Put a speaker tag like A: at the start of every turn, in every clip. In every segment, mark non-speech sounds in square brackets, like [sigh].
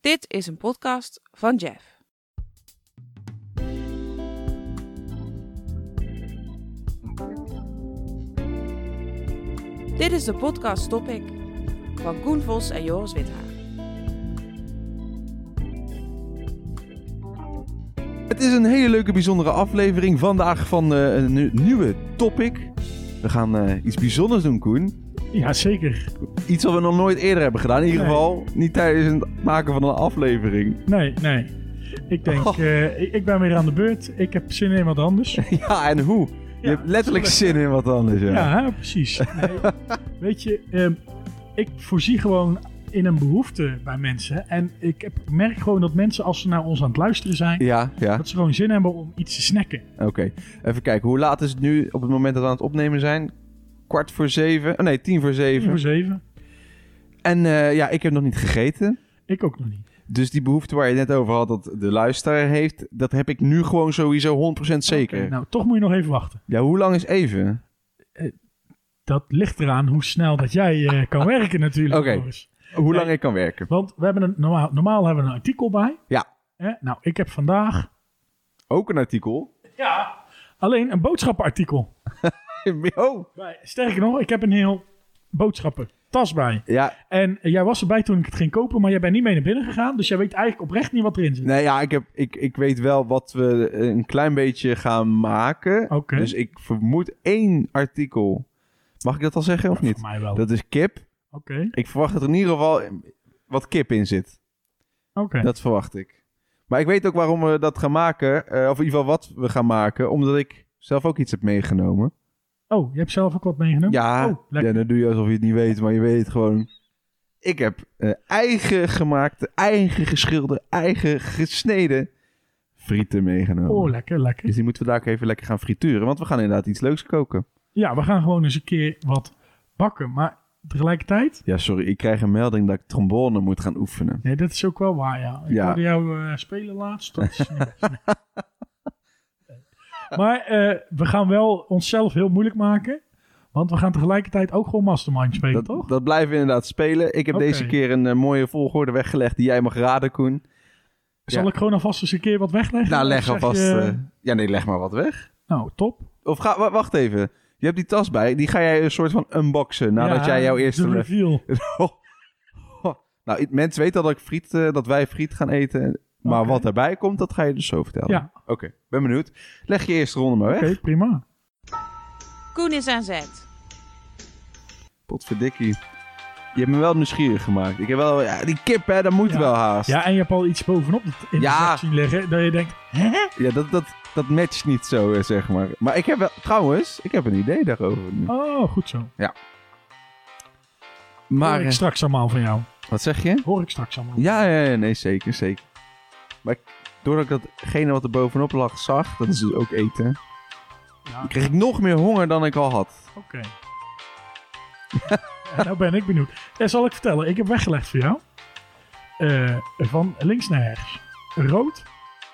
A: Dit is een podcast van Jeff. Dit is de podcast Topic van Koen Vos en Joris Withaar.
B: Het is een hele leuke, bijzondere aflevering vandaag van eh, een nu- nieuwe topic. We gaan eh, iets bijzonders doen, Koen.
C: Ja, zeker.
B: Iets wat we nog nooit eerder hebben gedaan. In ieder
C: Nee.
B: geval niet tijdens het maken van een aflevering. [laughs]
C: Nee, nee. Ik denk,
B: Oh.
C: eh, ik, ik ben weer aan de beurt. Ik heb zin in wat anders. Ja,
B: Ja, en hoe? Je hebt letterlijk zin in wat anders. Ja.
C: Ja,
B: [laughs]
C: hè, precies. Nee, weet je, ehm, ik voorzie gewoon in een behoefte bij mensen. En ik heb- ik merk gewoon dat mensen, als ze naar ons aan het luisteren zijn,
B: Ja, ja.
C: dat ze gewoon zin hebben om iets te snacken.
B: Oké. Even kijken. Hoe laat is het nu op het moment dat we aan het opnemen zijn? Kwart voor zeven? Oh, nee, tien voor
C: Tien
B: zeven.
C: voor zeven.
B: En eh, ja, ik heb nog niet gegeten.
C: Ik ook nog niet.
B: Dus die behoefte waar je net over had, dat de luisteraar heeft, dat heb ik nu gewoon sowieso 100% zeker.
C: Oké, nou, toch moet je nog even wachten.
B: Ja, hoe lang is even?
C: Dat ligt eraan hoe snel dat jij eh,
B: [laughs]
C: kan werken natuurlijk,
B: Oké.
C: Boris.
B: Hoe
C: Nee.
B: lang ik kan werken.
C: Want we hebben een, normaal, normaal hebben we een artikel bij.
B: Ja.
C: Hè? Nou, ik heb vandaag
B: Ook een artikel. [laughs]
C: Ja. Alleen een boodschappenartikel.
B: oh.
C: Bij- Sterker nog, ik heb een heel boodschappen tas bij.
B: Ja,
C: En eh, jij was erbij toen ik het ging kopen, maar jij bent niet mee naar binnen gegaan. Dus jij weet eigenlijk oprecht niet wat erin zit.
B: nee, ja ik, heb, ik, ik weet wel wat we een klein beetje gaan maken.
C: Oké.
B: Dus ik vermoed één artikel. Mag ik dat al zeggen of niet?
C: Voor mij wel. Oké.
B: Dat is kip.
C: Oké.
B: Ik verwacht dat er in ieder geval wat kip in zit. Dat verwacht ik. Maar ik weet ook waarom we dat gaan maken. eh, of in ieder geval wat we gaan maken. Omdat ik zelf ook iets heb meegenomen.
C: Oh, je hebt zelf ook wat meegenomen?
B: Ja,
C: Oh,
B: ja,
C: lekker.
B: dan doe je alsof je het niet weet, maar je weet het gewoon. Ik heb eh, eigen gemaakte, eigen geschilderd, eigen gesneden frieten meegenomen.
C: Oh, lekker, lekker.
B: dus die moeten we daar ook even lekker gaan frituren, want we gaan inderdaad iets leuks koken.
C: Ja, we gaan gewoon eens een keer wat bakken. Maar tegelijkertijd...
B: Ja, sorry, ik krijg een melding dat ik trombone moet gaan oefenen.
C: Nee, dat is ook wel waar, ja. Ik
B: Ja.
C: hoorde jou eh, spelen laatst. Dat is niet best.
B: [laughs]
C: Nee. maar eh, we gaan wel onszelf heel moeilijk maken. Want we gaan tegelijkertijd ook gewoon Mastermind spelen,
B: Dat,
C: toch?
B: dat blijven we inderdaad spelen. Ik heb
C: Oké.
B: deze keer een eh, mooie volgorde weggelegd die jij mag raden,
C: [laughs]
B: Koen.
C: Zal
B: ja.
C: ik gewoon alvast eens een keer wat wegleggen?
B: Nou,
C: Of
B: leg
C: zeg
B: alvast...
C: je-
B: eh, ja, nee, leg maar wat weg.
C: nou, top.
B: Of ga, wa- wacht even. Je hebt die tas bij, die ga jij een soort van unboxen nadat jij jouw eerste...
C: De reveal.
B: Oh. Oh. Nou, i- mensen weten al dat, ik friet, eh, dat wij friet gaan eten. Maar
C: Oké.
B: wat daarbij komt, dat ga je dus zo vertellen.
C: Ja.
B: Oké, ben benieuwd. Leg je eerste ronde maar weg.
C: Oké, prima.
A: Koen is aan zet.
B: Potverdikkie. Je hebt me wel nieuwsgierig gemaakt. Ik heb wel... Ja, die kip, hè, dat moet
C: Ja.
B: wel haast. Ja,
C: Ja, en je hebt al iets bovenop het- in
B: Ja.
C: de zak zien liggen. Dat je denkt, hè?
B: dat, dat, dat matcht niet zo, eh, zeg maar. Maar ik heb wel... Trouwens, ik heb een idee daarover nu.
C: Oh, goed zo.
B: maar...
C: Hoor
B: eh,
C: ik straks allemaal van jou.
B: wat zeg je?
C: Hoor ik straks allemaal.
B: Ja, ja, ja, nee, zeker, zeker. Maar ik- doordat ik datgene wat er bovenop lag zag, dat is dus ook eten,
C: Ja,
B: kreeg ik nog meer honger dan ik al had.
C: Oké. Ja, nou ben ik benieuwd. En zal ik vertellen, ik heb weggelegd voor jou. eh, van links naar rechts. Rood,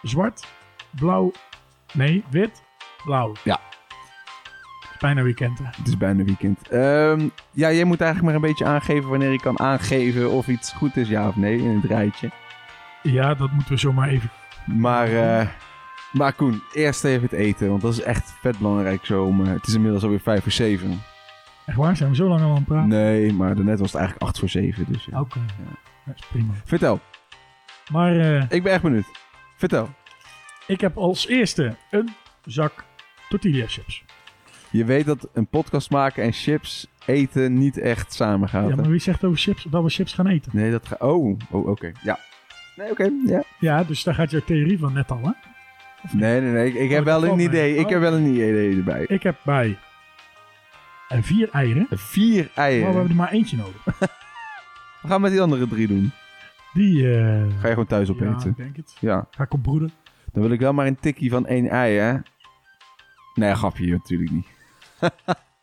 C: zwart, blauw, nee, wit, blauw.
B: Ja.
C: Het is bijna weekend hè.
B: Het is bijna weekend. Ehm, ja, jij moet eigenlijk maar een beetje aangeven wanneer je kan aangeven of iets goed is, ja of nee, in het rijtje.
C: Ja, dat moeten we zomaar even...
B: Maar, eh, maar Koen, eerst even het eten, want dat is echt vet belangrijk zo. om, eh, het is inmiddels alweer vijf voor zeven.
C: Echt waar, zijn we zo lang al aan het praten?
B: Nee, maar daarnet was het eigenlijk acht voor zeven, dus ja.
C: Oké, dat is prima.
B: Vertel,
C: Maar eh,
B: ik ben echt benieuwd. Vertel.
C: ik heb als eerste een zak tortilla chips.
B: Je weet dat een podcast maken en chips eten niet echt samengaat.
C: Ja,
B: hè?
C: maar wie zegt over chips, dat we chips gaan eten?
B: Nee, dat gaat... Oh, oh oké. Ja. Nee, oké. ja.
C: Ja, dus daar gaat jouw theorie van net al hè.
B: Nee, nee, nee. Ik, ik heb
C: Oh, dat
B: wel een
C: valt mee.
B: idee. Ik
C: Oh.
B: heb wel een idee erbij.
C: Ik heb bij eh, vier eieren.
B: Vier eieren.
C: Maar we hebben er maar eentje nodig.
B: We gaan met die andere drie doen.
C: Die. eh,
B: Ga je gewoon thuis opeten.
C: Ja,
B: Ja,
C: ik denk het. Ga ik op broeden.
B: Dan wil ik wel maar een tikkie van één ei, hè? Nee, grapje, natuurlijk niet.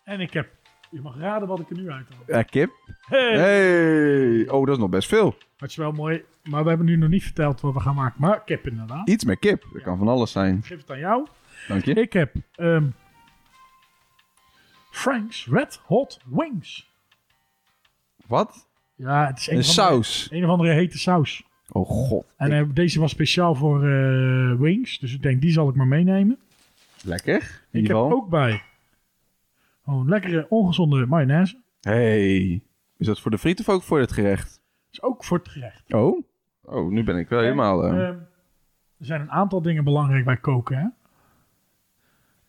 C: En ik heb. Je mag raden wat ik er nu uit haal.
B: Eh, kip?
C: Hey.
B: Hey! Oh, dat is nog best veel.
C: Het is wel mooi. Maar we hebben nu nog niet verteld wat we gaan maken. Maar ik heb inderdaad.
B: Iets met kip. Dat kan van alles zijn.
C: Ik geef het aan jou.
B: Dank je.
C: Ik heb. ehm, Frank's Red Hot Wings.
B: Wat?
C: Ja, het is een,
B: Een
C: of andere-
B: saus.
C: Een of andere hete saus.
B: Oh god.
C: En eh, deze was speciaal voor eh, Wings, dus ik denk die zal ik maar meenemen.
B: Lekker. In
C: Ik
B: ieder
C: heb
B: geval.
C: ook bij gewoon lekkere ongezonde mayonaise.
B: Hey. Is dat voor de friet of ook voor het gerecht?
C: is ook voor het gerecht.
B: Oh. Oh, nu ben ik wel helemaal... eh,
C: Ehm, er zijn een aantal dingen belangrijk bij koken. Hè?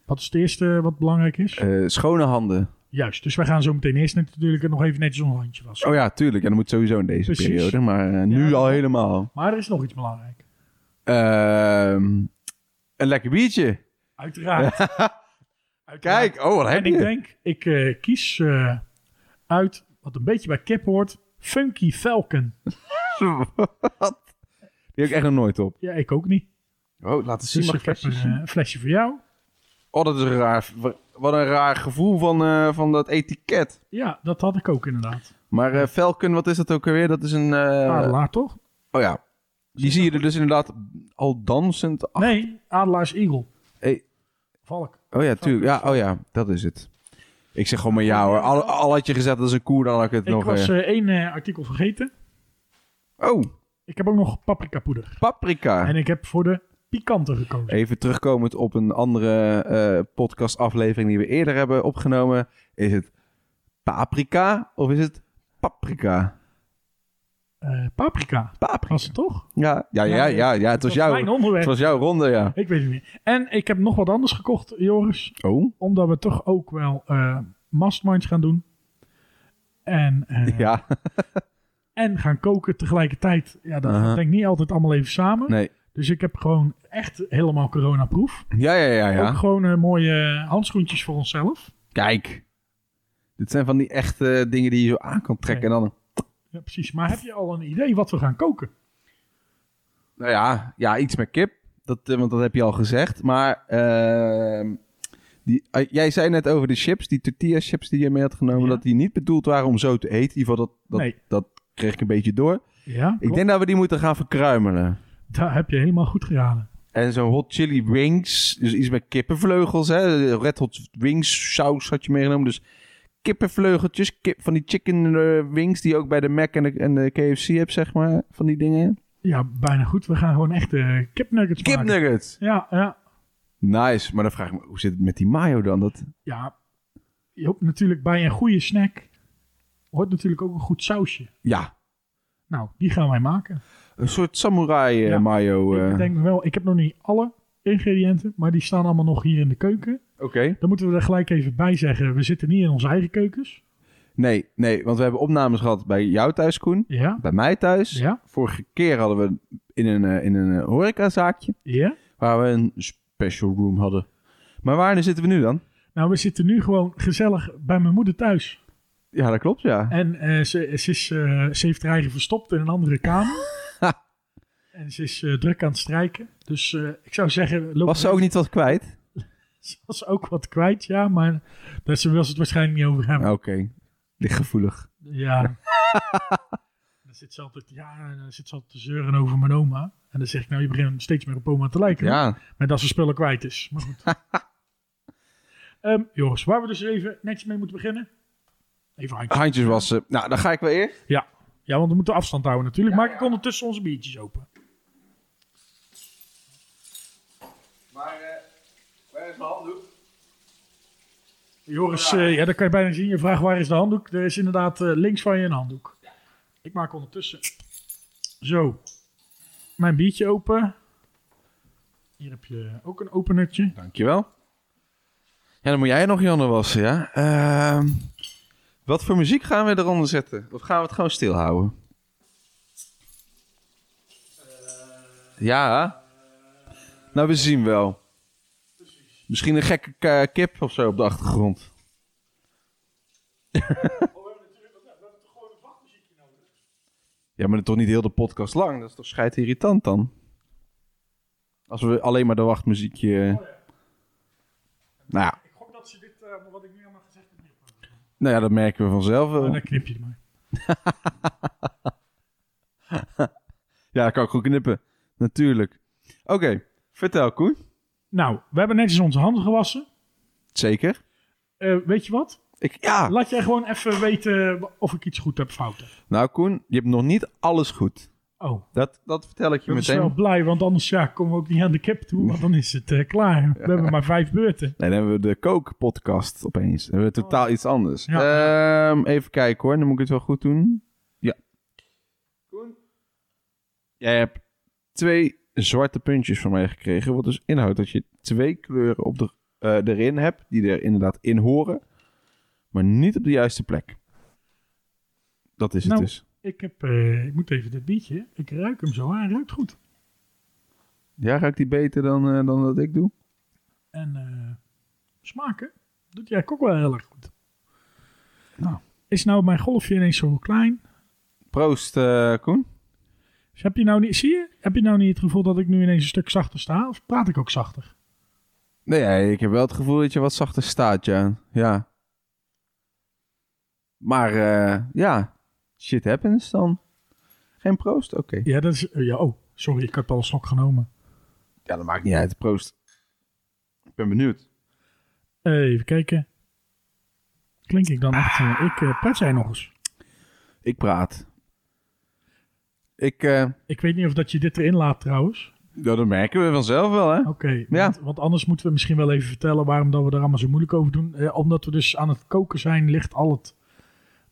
C: Wat is het eerste wat belangrijk is?
B: eh, schone handen.
C: Juist, dus wij gaan zo meteen eerst natuurlijk nog even netjes ons handje wassen.
B: Oh ja, tuurlijk. Ja, dat moet sowieso in deze
C: Precies.
B: periode. Maar eh, nu
C: Ja.
B: al helemaal.
C: Maar er is nog iets belangrijk.
B: Ehm, een lekker biertje.
C: Uiteraard. [laughs] Uiteraard.
B: Kijk. Oh, wat heb
C: En
B: je?
C: ik denk, ik eh, kies eh, uit wat een beetje bij kip hoort. Funky Falcon.
B: Wat? Die heb ik echt nog nooit op.
C: Ja, ik ook niet.
B: Oh, laat eens
C: Dus ik heb een eh, flesje voor jou.
B: Oh, dat is een raar. Wat een raar gevoel van, eh, van dat etiket.
C: Ja, dat had ik ook inderdaad.
B: Maar eh Falcon, wat is dat ook alweer? Dat is een. eh,
C: Adelaar toch?
B: oh ja. Die zie je er dus inderdaad al dansend. af-
C: Nee, Adelaars Eagle.
B: Hey.
C: Valk.
B: Oh ja, tuurlijk. Ja, oh ja, dat is het. Ik zeg gewoon maar ja hoor. Al, al had je gezet dat is een koer, dan had ik het
C: Ik
B: nog.
C: was
B: eh,
C: eh, één eh, artikel vergeten.
B: Oh,
C: Ik heb ook nog paprika poeder.
B: paprika.
C: En ik heb voor de pikante gekozen.
B: Even terugkomend op een andere eh podcastaflevering die we eerder hebben opgenomen. Is het paprika of is het paprika?
C: Eh, paprika.
B: Paprika.
C: Was het toch?
B: Ja, ja, ja, ja, ja. Het was
C: Dat Mijn
B: jouw, het
C: onderwerp.
B: was jouw ronde, ja.
C: Ik weet het niet. En ik heb nog wat anders gekocht, Joris.
B: Oh,
C: Omdat we toch ook wel eh masterminds gaan doen. En,
B: [laughs]
C: eh,
B: ja.
C: en gaan koken tegelijkertijd. Ja, dat
B: Aha.
C: denk ik niet altijd allemaal even samen.
B: Nee.
C: Dus ik heb gewoon echt helemaal coronaproof.
B: Ja, ja, ja,
C: Ook
B: ja.
C: gewoon eh, mooie handschoentjes voor onszelf.
B: Kijk. Dit zijn van die echte dingen die je zo aan kan trekken. En dan,
C: Ja, precies. Maar heb je al een idee wat we gaan koken?
B: nou ja, ja, iets met kip. Dat, eh, want dat heb je al gezegd. Maar ehm, die, eh, jij zei net over de chips, die tortilla chips die je mee had genomen,
C: Ja.
B: dat die niet bedoeld waren om zo te eten. In ieder geval, dat, dat,
C: Nee.
B: dat kreeg ik een beetje door.
C: Ja,
B: Ik denk dat we die moeten gaan verkruimelen.
C: daar heb je helemaal goed geraden.
B: En zo'n hot chili wings, dus iets met kippenvleugels, hè? Red hot wings saus had je meegenomen, dus kippenvleugeltjes, kip, van die chicken eh, wings die je ook bij de Mac en de, en de KFC hebt, zeg maar, van die dingen.
C: Ja, bijna goed. We gaan gewoon echt eh kipnuggets maken.
B: Kipnuggets!
C: Ja, ja.
B: Nice, maar dan vraag ik me, hoe zit het met die mayo dan? Dat,
C: Ja, je hoopt natuurlijk bij een goede snack hoort natuurlijk ook een goed sausje.
B: ja,
C: Nou, die gaan wij maken.
B: een soort samurai eh,
C: Ja,
B: mayo. eh.
C: Ik denk wel, ik heb nog niet alle ingrediënten, maar die staan allemaal nog hier in de keuken.
B: Oké.
C: Dan moeten we er gelijk even bij zeggen, we zitten niet in onze eigen keukens.
B: Nee, nee, want we hebben opnames gehad bij jou thuis, Koen.
C: Ja,
B: Bij mij thuis.
C: ja,
B: Vorige keer hadden we in een, eh, in een eh, horecazaakje.
C: ja.
B: Waar we een special room hadden. Maar waar zitten we nu dan?
C: Nou, we zitten nu gewoon gezellig bij mijn moeder thuis.
B: Ja, dat klopt, ja.
C: En eh, ze, ze, is, eh, ze heeft haar eigen verstopt in een andere kamer.
B: [laughs]
C: en ze is eh, druk aan het strijken. Dus eh, ik zou zeggen, loop
B: Was ze ook niet wat kwijt?
C: [laughs] Ze was ook wat kwijt, ja, maar daar ze wil ze het waarschijnlijk niet over hebben.
B: Oké. Ligt gevoelig.
C: Ja. [laughs] dan zit ze altijd, ja, dan zit ze altijd te zeuren over mijn oma. En dan zeg ik, nou, je begint steeds meer op oma te lijken. hè?
B: Ja.
C: Maar dat ze spullen kwijt is. Maar goed. Ehm, Joris, waar we dus even netjes mee moeten beginnen. Even handje.
B: Handjes wassen. Nou, dan ga ik wel eerst.
C: Ja, want we moeten afstand houden natuurlijk. Maak ik ondertussen onze biertjes open.
B: Maar, eh, waar is mijn handdoek?
C: Joris, eh, ja, dat kan je bijna zien. Je vraagt waar is de handdoek. Er is inderdaad eh, links van je een handdoek. Ik maak ondertussen zo mijn biertje open. Hier heb je ook een openertje.
B: Dankjewel. Ja, dan moet jij nog je handen wassen, ja. Ehm, wat voor muziek gaan we eronder zetten? Of gaan we het gewoon stilhouden? Ja. Nou, we zien wel. Misschien een gekke eh, kip of zo op de achtergrond. [laughs] Ja, maar toch niet heel de podcast lang. Dat is toch schijt irritant dan? Als we alleen maar de wachtmuziekje... Nou ja,
C: Ik gok dat ze dit, eh, wat ik nu allemaal gezegd heb, niet opnemen.
B: nou ja, dat merken we vanzelf
C: Maar
B: wel.
C: dan knip je het maar.
B: Ja, dat kan ik goed knippen. Natuurlijk. Oké, vertel Koen.
C: Nou, we hebben netjes onze handen gewassen.
B: Zeker.
C: Eh, weet je wat?
B: Ik, ja,
C: Laat jij gewoon even weten of ik iets goed heb of fout heb.
B: nou Koen, je hebt nog niet alles goed.
C: Oh,
B: Dat, dat vertel ik je
C: ik ben wel
B: meteen.
C: blij, want anders ja, komen we ook niet aan de kip toe. Want dan is het eh, klaar. We hebben maar vijf beurten.
B: Nee, dan hebben we de Kook-podcast opeens. Dan hebben we totaal iets anders.
C: Oh. Ja.
B: Ehm, even kijken hoor, dan moet ik het wel goed doen. Ja. Jij hebt twee zwarte puntjes van mij gekregen. Wat dus inhoudt dat je twee kleuren op de, eh, erin hebt, die er inderdaad in horen. Maar niet op de juiste plek. Dat is
C: Nou.
B: het dus.
C: Ik, heb, eh, ik moet even dit biertje. Ik ruik hem zo. Hij ruikt goed.
B: Ja, ruikt die beter dan, eh, dan dat ik doe?
C: En eh, smaken doet jij ook wel heel erg goed.
B: Nou.
C: Is nou mijn golfje ineens zo klein?
B: Proost, eh, Koen.
C: Dus heb je nou niet, zie je? Heb je nou niet het gevoel dat ik nu ineens een stuk zachter sta? Of praat ik ook zachter?
B: Nee, ja, ik heb wel het gevoel dat je wat zachter staat, ja. ja. Maar eh, ja, shit happens dan. Geen proost? Oké.
C: Ja, dat is... eh, ja, oh, sorry, ik heb al een slok genomen.
B: Ja, dat maakt niet uit. Proost. Ik ben benieuwd.
C: Eh, Even kijken. Klink ik dan echt... eh, ik eh, pret jij nog eens.
B: Ik praat. Ik, eh,
C: Ik weet niet of dat je dit erin laat trouwens.
B: ja, dat merken we vanzelf wel, hè?
C: Oké,
B: Ja.
C: want, want anders moeten we misschien wel even vertellen waarom dat we daar allemaal zo moeilijk over doen. Eh, omdat we dus aan het koken zijn, ligt al het,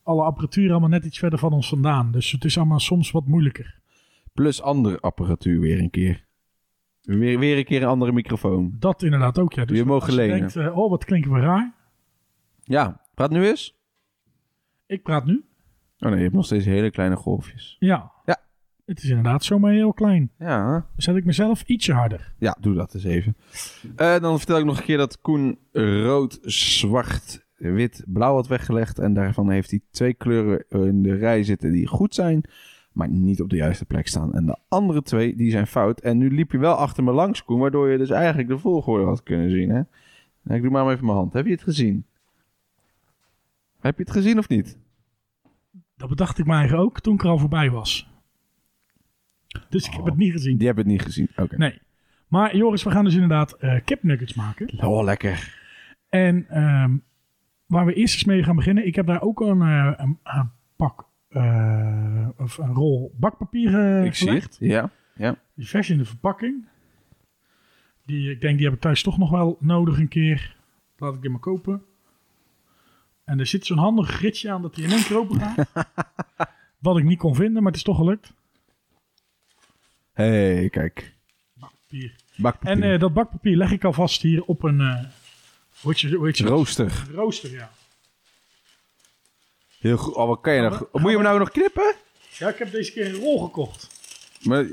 C: alle apparatuur allemaal net iets verder van ons vandaan. Dus het is allemaal soms wat moeilijker.
B: Plus andere apparatuur weer een keer. Weer, weer een keer een andere microfoon.
C: Dat inderdaad ook, ja. Dus
B: Je mogen
C: als je
B: lenen.
C: denkt, eh, oh wat klinken we raar.
B: Ja, praat nu eens.
C: Ik praat nu.
B: Oh nee, je hebt nog steeds hele kleine golfjes.
C: Ja.
B: Ja.
C: Het is inderdaad zomaar heel klein.
B: Ja, hè?
C: Dan zet ik mezelf ietsje harder.
B: Ja, doe dat eens even. Eh, dan vertel ik nog een keer dat Koen rood, zwart, wit, blauw had weggelegd. En daarvan heeft hij twee kleuren in de rij zitten die goed zijn, maar niet op de juiste plek staan. En de andere twee, die zijn fout. En nu liep je wel achter me langs, Koen, waardoor je dus eigenlijk de volgorde had kunnen zien. Hè? Nou, ik doe maar even mijn hand. Heb je het gezien? Heb je het gezien of niet?
C: Dat bedacht ik mij eigenlijk ook toen ik er al voorbij was. Dus ik heb
B: Oh.
C: het niet gezien.
B: Die hebben het niet gezien. Oké.
C: Nee. Maar Joris, we gaan dus inderdaad eh kipnuggets maken.
B: Oh, lekker.
C: En ehm, waar we eerst eens mee gaan beginnen. Ik heb daar ook een, eh, een, een pak eh, of een rol bakpapier eh
B: ik zie
C: gelegd.
B: het. Ja.
C: Die vers in de verpakking. Die, ik denk die heb ik thuis toch nog wel nodig een keer. Laat ik die maar kopen. En er zit zo'n handig gidsje aan dat hij in één keer open
B: [laughs]
C: gaat. Wat ik niet kon vinden, maar het is toch gelukt.
B: Hé, hey, kijk.
C: Bakpapier.
B: Bakpapier.
C: En eh, dat bakpapier leg ik alvast hier op een... eh hoe heet je- hoe heet je dat?
B: Rooster.
C: Rooster, ja.
B: Heel goed. Oh, wat kan je nou? Moet je me nou nog knippen?
C: Ja, ik heb deze keer een rol gekocht.
B: Maar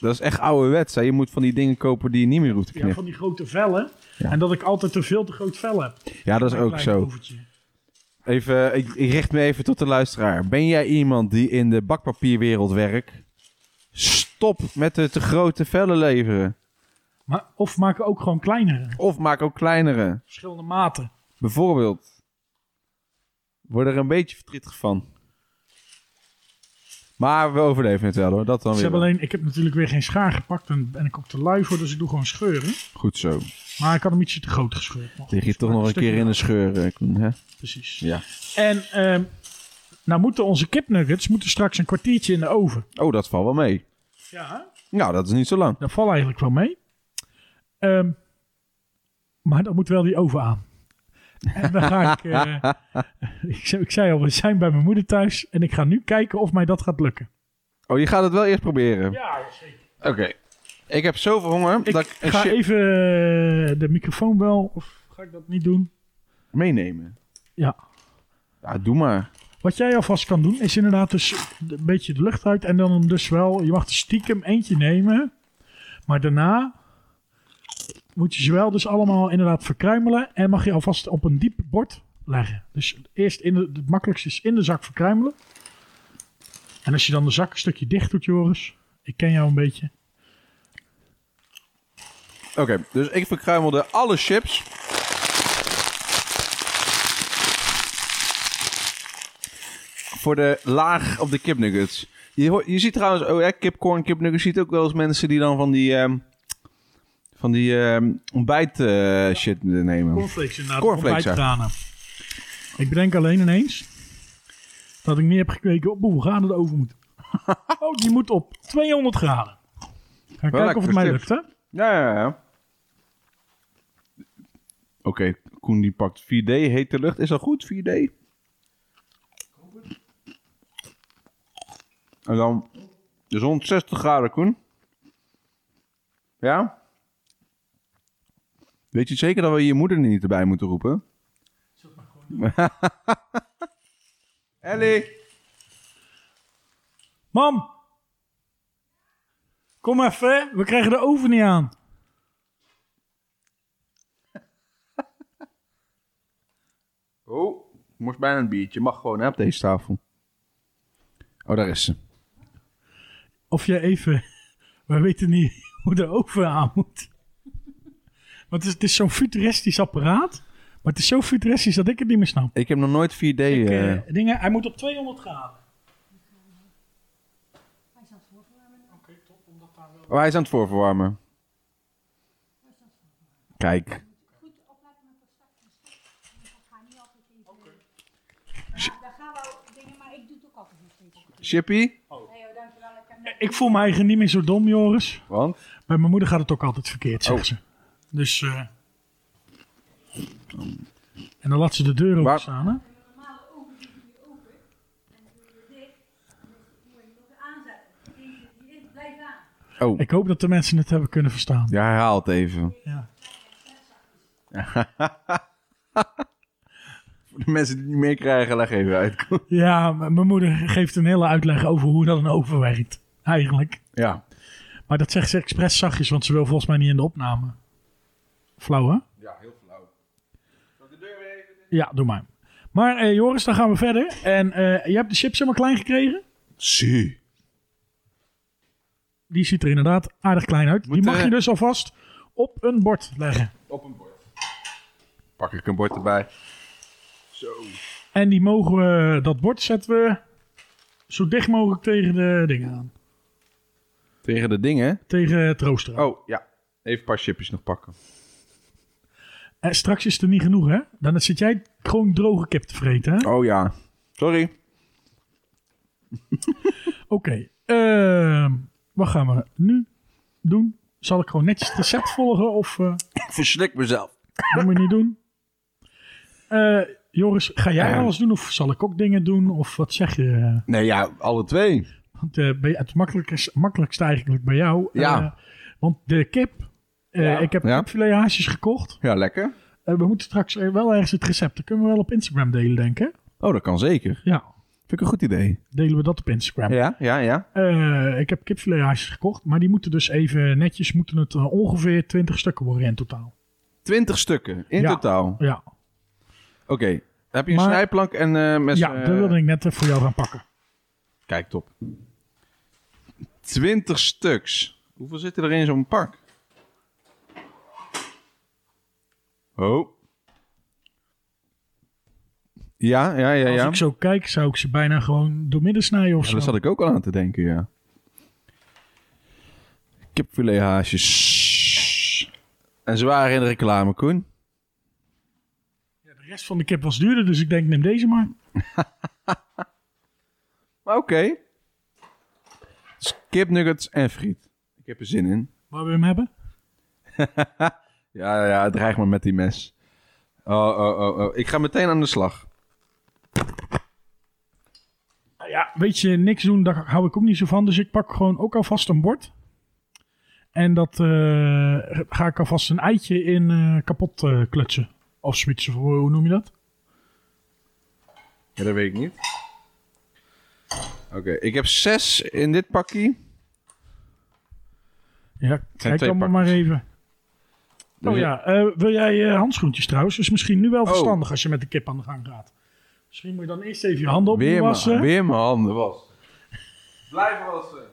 B: dat is echt ouderwets. Hè? Je moet van die dingen kopen die je niet meer hoeft te
C: Ja,
B: knippen.
C: van die grote vellen.
B: Ja.
C: En dat ik altijd te veel te groot vel heb.
B: Ja, dat is
C: Mijn
B: ook
C: kleine
B: zo.
C: overtje.
B: Even, ik, ik richt me even tot de luisteraar. Ben jij iemand die in de bakpapierwereld werkt? Stop met de te grote vellen leveren.
C: Maar, of maken ook gewoon kleinere.
B: Of maak ook kleinere.
C: Verschillende maten.
B: Oh, Bijvoorbeeld. Word er een beetje verdrietig van. Maar we overleven het wel hoor. Dat dan
C: Ze
B: weer.
C: hebben
B: wel.
C: alleen, ik heb natuurlijk weer geen schaar gepakt en ben ik ook te lui voor, dus ik doe gewoon scheuren.
B: Goed zo.
C: Maar ik had hem ietsje te groot gescheurd. Maar
B: Lig je
C: goed,
B: toch
C: maar
B: nog een keer
C: stukje
B: in de scheur. eh, Koen, Hè?
C: wel, Precies.
B: Ja.
C: En ehm, nou moeten onze kipnuggets moeten straks een kwartiertje in de oven.
B: Oh, dat valt wel mee.
C: Ja.
B: Nou, dat is niet zo lang.
C: Dat valt eigenlijk wel mee. Ehm, maar dan moet wel die oven aan. En dan ga ik... eh, [laughs] ik, zei- ik zei al, we zijn bij mijn moeder thuis. En ik ga nu kijken of mij dat gaat lukken.
B: Oh, je gaat het wel eerst proberen.
C: Ja, zeker.
B: Oké. Ik heb zoveel honger
C: Ik
B: dat ik een
C: ga
B: chip
C: even eh, de microfoon wel. Of ga ik dat niet doen? e-
B: meenemen.
C: Ja.
B: Ja, doe maar.
C: Wat jij alvast kan doen, is inderdaad dus een beetje de lucht uit. En dan hem dus wel... Je mag er stiekem eentje nemen. Maar daarna... Moet je ze wel dus allemaal inderdaad verkruimelen. En mag je alvast op een diep bord leggen. Dus eerst in de, het makkelijkste is in de zak verkruimelen. En als je dan de zak een stukje dicht doet, Joris. Ik ken jou een beetje.
B: Oké, dus ik verkruimelde alle chips. Voor de laag op de kipnuggets. Je, hoort- je ziet trouwens, oh ja, kipcorn, kipnuggets. Je ziet ook wel eens mensen die dan van die, ehm, van die ehm ontbijt eh, shit nemen.
C: Cornflakes inderdaad.
B: Cornflakes, ja.
C: ontbijtgranen.
B: [laughs]
C: Ik bedenk alleen ineens dat ik niet heb gekeken op hoeveel graden er over moet. Oh, die moet op 200 graden. Ga ik
B: Wel
C: kijken of het mij
B: lekker
C: lukt, hè?
B: Ja, ja, ja. Oké, Koen die pakt 4D, hete lucht. Is dat goed, 4D? En dan... Dus 160 graden, Koen. Ja? Weet je zeker dat we je moeder niet erbij moeten roepen? [laughs] Ellie!
C: Mam! Kom even, we krijgen de oven niet aan.
B: Oh, ik moest bijna een biertje. Mag gewoon, hè, op deze tafel. Oh, daar is ze.
C: Of je even... [laughs] We weten niet [laughs] hoe de oven aan moet. [laughs] Want het is, het is zo'n futuristisch apparaat. Maar het is zo futuristisch dat ik het niet meer snap.
B: Ik heb nog nooit 4D...
C: Ik,
B: eh,
C: eh, dingen, hij moet op 200 graden.
B: Oh, hij is aan het voorverwarmen. Kijk.
D: Daar gaan we ook dingen, maar ik doe het ook altijd nog steeds.
B: Shippy?
D: Nee joh, dankjewel. Ik heb
C: Ik voel me eigen niet meer zo dom, Joris.
B: Want?
C: Bij mijn moeder gaat het ook altijd verkeerd, zegt
B: Oh.
C: ze. Dus... eh, en dan laat ze de deur open
B: Waar-
C: staan, hè?
D: normale oven die doe je open. En doe je dicht. Dan moet je hem nog aanzetten. Die zit hierin, blijf aan.
B: Oh,
C: Ik hoop dat de mensen het hebben kunnen verstaan.
B: ja, herhaal het even.
C: Ja.
B: Voor de mensen die het niet meekrijgen, leg even uit.
C: Ja, m- mijn moeder geeft een hele uitleg over hoe dat een oven werkt. Eigenlijk.
B: [laughs] ja.
C: Maar dat zegt ze expres zachtjes, want ze wil volgens mij niet in de opname. Flauw, hè?
B: Ja, heel flauw.
C: Ja, doe maar. Maar eh, Joris, dan gaan we verder. En eh, je hebt de chips helemaal klein gekregen.
B: Zie.
C: Die ziet er inderdaad aardig klein uit. Die
B: Moet,
C: mag
B: eh,
C: je dus alvast op een bord leggen.
B: Op een bord. Pak ik een bord erbij. Zo.
C: En die mogen we, dat bord zetten we zo dicht mogelijk tegen de dingen aan.
B: Tegen de dingen.
C: Tegen het rooster aan.
B: Oh, ja. Even een paar chipjes nog pakken.
C: En Eh, straks is het er niet genoeg, hè? Dan zit jij gewoon droge kip te vreten, hè?
B: Oh ja. Sorry.
C: Oké, ehm, wat gaan we nu doen? Zal ik gewoon netjes het recept volgen of eh
B: Ik verslik mezelf.
C: dat moet je niet doen? Eh, Joris, ga jij
B: Ja.
C: alles doen of zal ik ook dingen doen? Of wat zeg je?
B: Nee, ja, alle twee.
C: Want eh, bij- het makkelijkste, makkelijkste eigenlijk bij jou. eh,
B: Ja.
C: want de kip, eh, ik heb
B: Ja.
C: kipfilet haasjes gekocht.
B: Ja, lekker.
C: Eh, we moeten straks eh, wel ergens het recept, dat kunnen we wel op Instagram delen, denk ik. hè?
B: Oh, dat kan zeker.
C: Ja,
B: Vind ik een goed idee.
C: delen we dat op Instagram.
B: Ja, ja, ja.
C: Eh, ik heb kipfilethaasjes gekocht, maar die moeten dus even netjes, moeten het eh, ongeveer 20 stukken worden in totaal.
B: Twintig stukken in
C: Ja.
B: totaal.
C: Ja,
B: Oké. Heb je een
C: Maar-
B: snijplank en eh mes?
C: ja
B: eh,
C: dat wilde ik net eh, voor jou gaan pakken.
B: Kijk, top. 20 stuks. Hoeveel zitten er in zo'n pak? Oh. Ja, ja, ja, ja.
C: Als ik zo kijk, zou ik ze bijna gewoon doormidden snijden of
B: Ja,
C: zo.
B: Daar zat ik ook al aan te denken, ja. Kipfilet haasjes. En ze waren in de reclame, Koen.
C: Ja, de rest van de kip was duurder, dus ik denk neem deze maar.
B: Maar oké. Dus kipnuggets en friet. Ik heb er zin in.
C: Waar we hem hebben.
B: Ja, ja, dreig maar met die mes. Oh, oh, oh, oh. Ik ga meteen aan de slag.
C: Nou ja, weet je, niks doen, daar hou ik ook niet zo van. Dus ik pak gewoon ook alvast een bord. En dat eh, ga ik alvast een eitje in eh, kapot eh, klutsen. Of zoiets, of hoe hoe noem je dat?
B: Ja, dat weet ik niet. Oké, ik heb zes in dit pakje.
C: Ja, kijk
B: twee
C: allemaal maar
B: pakjes.
C: even. Oh ja, eh, wil jij eh, handschoentjes trouwens? Is misschien nu wel
B: Oh.
C: verstandig als je met de kip aan de gang gaat. Misschien moet je dan eerst even je handen
B: Weer
C: opnieuw wassen.
B: mijn, weer mijn handen was. Blijf wassen.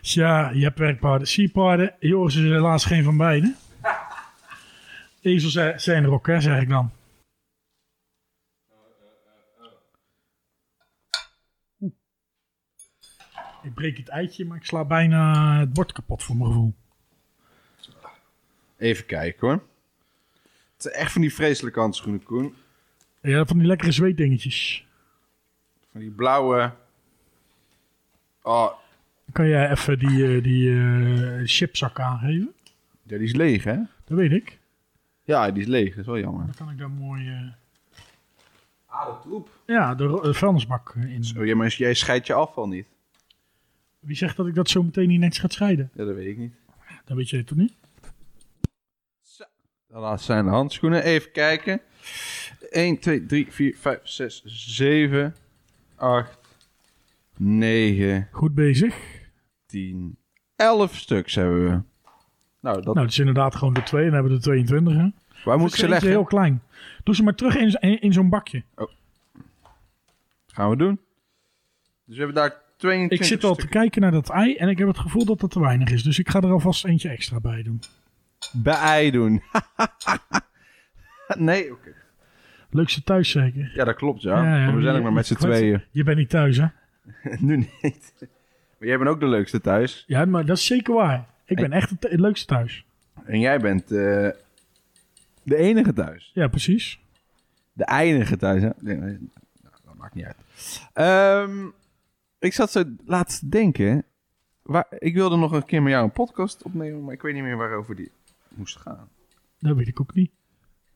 C: Ja, je hebt werkpaarden, sierpaarden. Joris is er helaas geen van beiden. Ezels eh, zijn er ook, hè, zeg ik dan. Oeh. Ik breek het eitje, maar ik sla bijna het bord kapot voor mijn gevoel.
B: Even kijken hoor. Het zijn echt van die vreselijke handschoenen, Koen.
C: Ja, van die lekkere zweetdingetjes.
B: Van die blauwe. Oh,
C: Kan jij even die, eh, die eh, chipzak aangeven?
B: ja, die is leeg, hè?
C: Dat weet ik.
B: Ja, die is leeg. Dat is wel jammer.
C: Dan kan ik daar mooi... eh,
B: Aardappeltroep.
C: ja, de ro- eh, vuilnisbak eh, in.
B: Oh, ja, maar jij scheidt je afval niet.
C: Wie zegt dat ik dat zo meteen niet netjes ga scheiden?
B: Ja, dat weet ik niet.
C: Dat weet jij toch niet?
B: Dat zijn de handschoenen. Even kijken. 1, 2, 3, 4, 5, 6, 7, 8, 9,
C: Goed bezig.
B: 10, 11 stuks hebben we. Nou, dat,
C: Nou, dat is inderdaad gewoon de twee. Dan hebben we de 22. Hè?
B: waar moet
C: Dus
B: ik
C: er
B: ze
C: eentje
B: leggen?
C: heel klein. Doe ze maar terug in, z- in, in zo'n bakje.
B: Gaan we doen. Dus we hebben daar 22
C: Ik zit al te
B: stuks
C: kijken naar dat ei en ik heb het gevoel dat dat te weinig is. Dus ik ga er alvast eentje extra bij doen.
B: bij ei doen. [laughs] nee, oké.
C: Leukste thuis zeker.
B: Ja, dat klopt, ja.
C: Ja, ja,
B: maar we zijn
C: je-
B: ook maar met z'n
C: je kwets-
B: tweeën. [laughs]
C: Je bent niet thuis, hè?
B: nu niet. Maar jij bent ook de leukste thuis.
C: Ja, maar dat is zeker waar. Ik ben echt het, het leukste thuis.
B: En jij bent eh, de enige thuis.
C: Ja, precies.
B: De eindige thuis, hè? Nee, nee, nou, dat maakt niet uit. Ehm, ik zat zo laatst te denken. Waar, ik wilde nog een keer met jou een podcast opnemen, maar ik weet niet meer waarover die moest gaan.
C: Dat weet ik ook niet.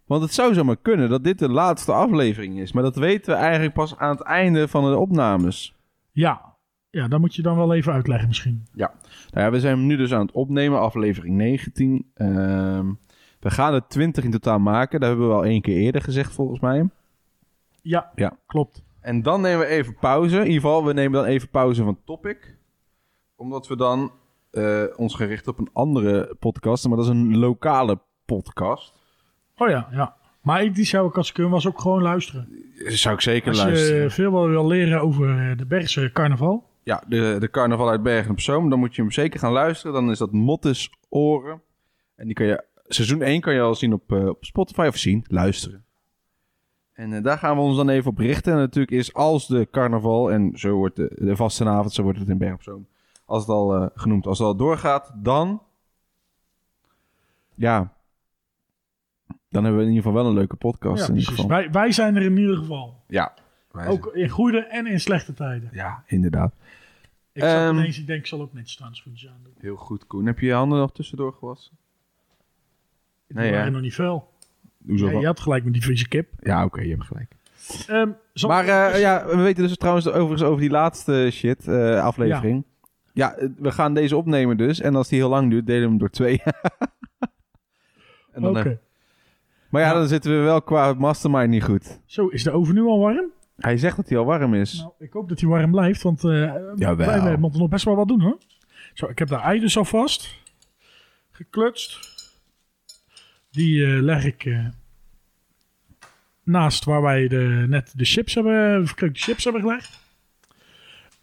B: Want het zou zomaar kunnen dat dit de laatste aflevering is. Maar dat weten we eigenlijk pas aan het einde van de opnames.
C: Ja. Ja, dat moet je dan wel even uitleggen misschien.
B: Nou ja, we zijn hem nu dus aan het opnemen, aflevering 19. Ehm, we gaan er 20 in totaal maken. Dat hebben we al één keer eerder gezegd, volgens mij.
C: Ja,
B: Ja.
C: klopt.
B: En dan nemen we even pauze. In ieder geval, we nemen dan even pauze van topic. Omdat we dan eh, ons gericht op een andere podcast. Maar dat is een lokale podcast.
C: Oh ja, ja. Maar ik, die zou ik als ik hem was ook gewoon luisteren.
B: Zou ik zeker
C: Als
B: luisteren.
C: je veel wel wil leren over eh, de Bergse carnaval.
B: Ja, de, de carnaval uit Bergen op Zoom. Dan moet je hem zeker gaan luisteren. Dan is dat Mottes Oren. En die kan je, seizoen 1 kan je al zien op, eh, op Spotify of zien, luisteren. En eh, daar gaan we ons dan even op richten. En natuurlijk is als de carnaval, en zo wordt de, de vastenavond, zo wordt het in Bergen op Zoom. Als het al eh, genoemd, als het al doorgaat, dan... Ja, dan hebben we in ieder geval wel een leuke podcast.
C: Ja,
B: in ieder
C: precies.
B: geval.
C: Wij, wij zijn er in ieder geval.
B: Ja, wij zijn-
C: Ook in goede en in slechte tijden.
B: ja, inderdaad.
C: Ik zat
B: Ehm.
C: ineens, ik denk, ik zal ook netjes transfootjes aandoen.
B: Heel goed, Koen. Heb je je handen nog tussendoor gewassen?
C: Nee,
B: Nee,
C: waren
B: ja.
C: nog niet veel.
B: Hoezo?
C: Ja, je had gelijk met die vieze kip.
B: Ja, oké, je hebt gelijk.
C: Ehm, zal-
B: Maar eh, ja, we weten dus trouwens overigens over die laatste shit, eh, aflevering. Ja. eh, we gaan deze opnemen dus. En als die heel lang duurt, delen we hem door twee. [laughs] en dan,
C: Oké.
B: eh, maar ja, dan zitten we wel qua mastermind niet goed.
C: Zo, is de oven nu al warm?
B: Hij zegt dat hij al warm is.
C: Nou, ik hoop dat hij warm blijft, want eh wij,
B: Jawel.
C: wij moeten nog best wel wat doen hoor. Zo, ik heb daar ei dus alvast geklutst. Die eh, leg ik eh, naast waar wij de, net de chips hebben, verkreukte chips hebben gelegd.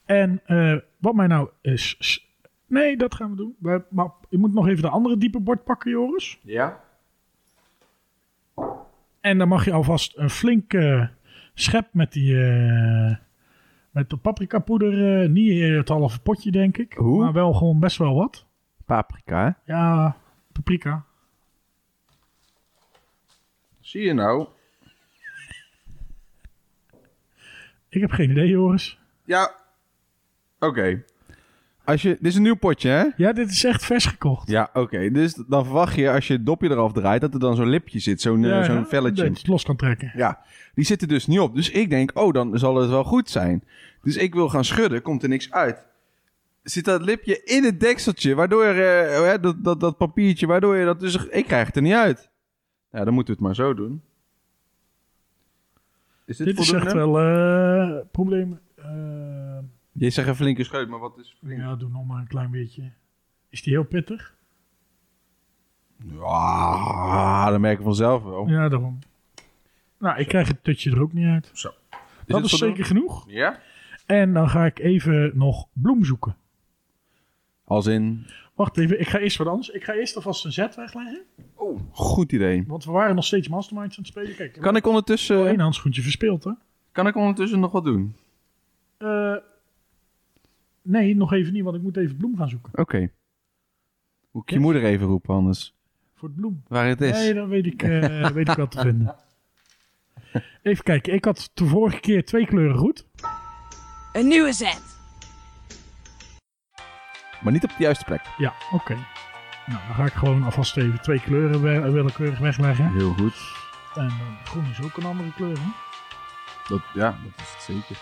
C: En eh, wat mij nou is... s- Nee, dat gaan we doen. Wij- maar je moet nog even de andere diepe bord pakken, Joris.
B: Ja?
C: En dan mag je alvast een flink eh, schep met die. eh, met de paprikapoeder. eh, niet eh, het halve potje, denk ik.
B: Hoe?
C: Maar wel gewoon best wel wat.
B: Paprika, hè?
C: Ja, paprika.
B: Zie je nou?
C: Ik heb geen idee, Joris.
B: Ja. Oké. Als je... Dit is een nieuw potje, hè?
C: Ja, dit is echt vers gekocht.
B: Ja, oké. Dus dan verwacht je, als je het dopje eraf draait, dat er dan zo'n lipje zit. Zo'n eh,
C: Ja,
B: zo'n
C: ja,
B: velletje.
C: Dat je het los kan trekken.
B: Ja, die zitten dus niet op. Dus ik denk, oh, dan zal het wel goed zijn. Dus ik wil gaan schudden, komt er niks uit. Zit dat lipje in het dekseltje, waardoor eh, hè, dat, dat, dat papiertje, waardoor je dat dus... Ik krijg het er niet uit. Ja, dan moeten we het maar zo doen. Is dit,
C: Dit is
B: voldoende?
C: echt wel eh probleem. eh,
B: Je zegt een flinke scheut, maar wat is flink?
C: ja, doe nog maar een klein beetje. Is die heel pittig?
B: Ja, dat merken we vanzelf wel.
C: Ja, daarom. Nou, ik krijg het tutje er ook niet uit.
B: Zo. Is
C: dat
B: dit
C: is
B: voldoende?
C: zeker genoeg.
B: Ja?
C: En dan ga ik even nog bloem zoeken.
B: Als in...
C: Wacht even, ik ga eerst wat anders. Ik ga eerst alvast een zet wegleggen.
B: Oh, goed idee.
C: Want we waren nog steeds masterminds aan het spelen. Kijk,
B: Kan ik
C: één
B: ondertussen,
C: handschoentje verspeeld, hè?
B: kan ik ondertussen nog wat doen?
C: Eh, nee, nog even niet, want ik moet even bloem gaan zoeken.
B: Oké. Moet ik je
C: Yes.
B: moeder even roepen, anders.
C: Voor het bloem.
B: Waar het is.
C: Nee, dan weet ik, eh [laughs] weet ik wat te vinden. Even kijken, ik had de vorige keer twee kleuren goed.
A: Een nieuwe zet.
B: Maar niet op de juiste plek.
C: Ja, oké. Nou, dan ga ik gewoon alvast even twee kleuren we- willekeurig wegleggen.
B: Heel goed.
C: En eh, groen is ook een andere kleur, hè?
B: Dat, ja, dat is het zeker.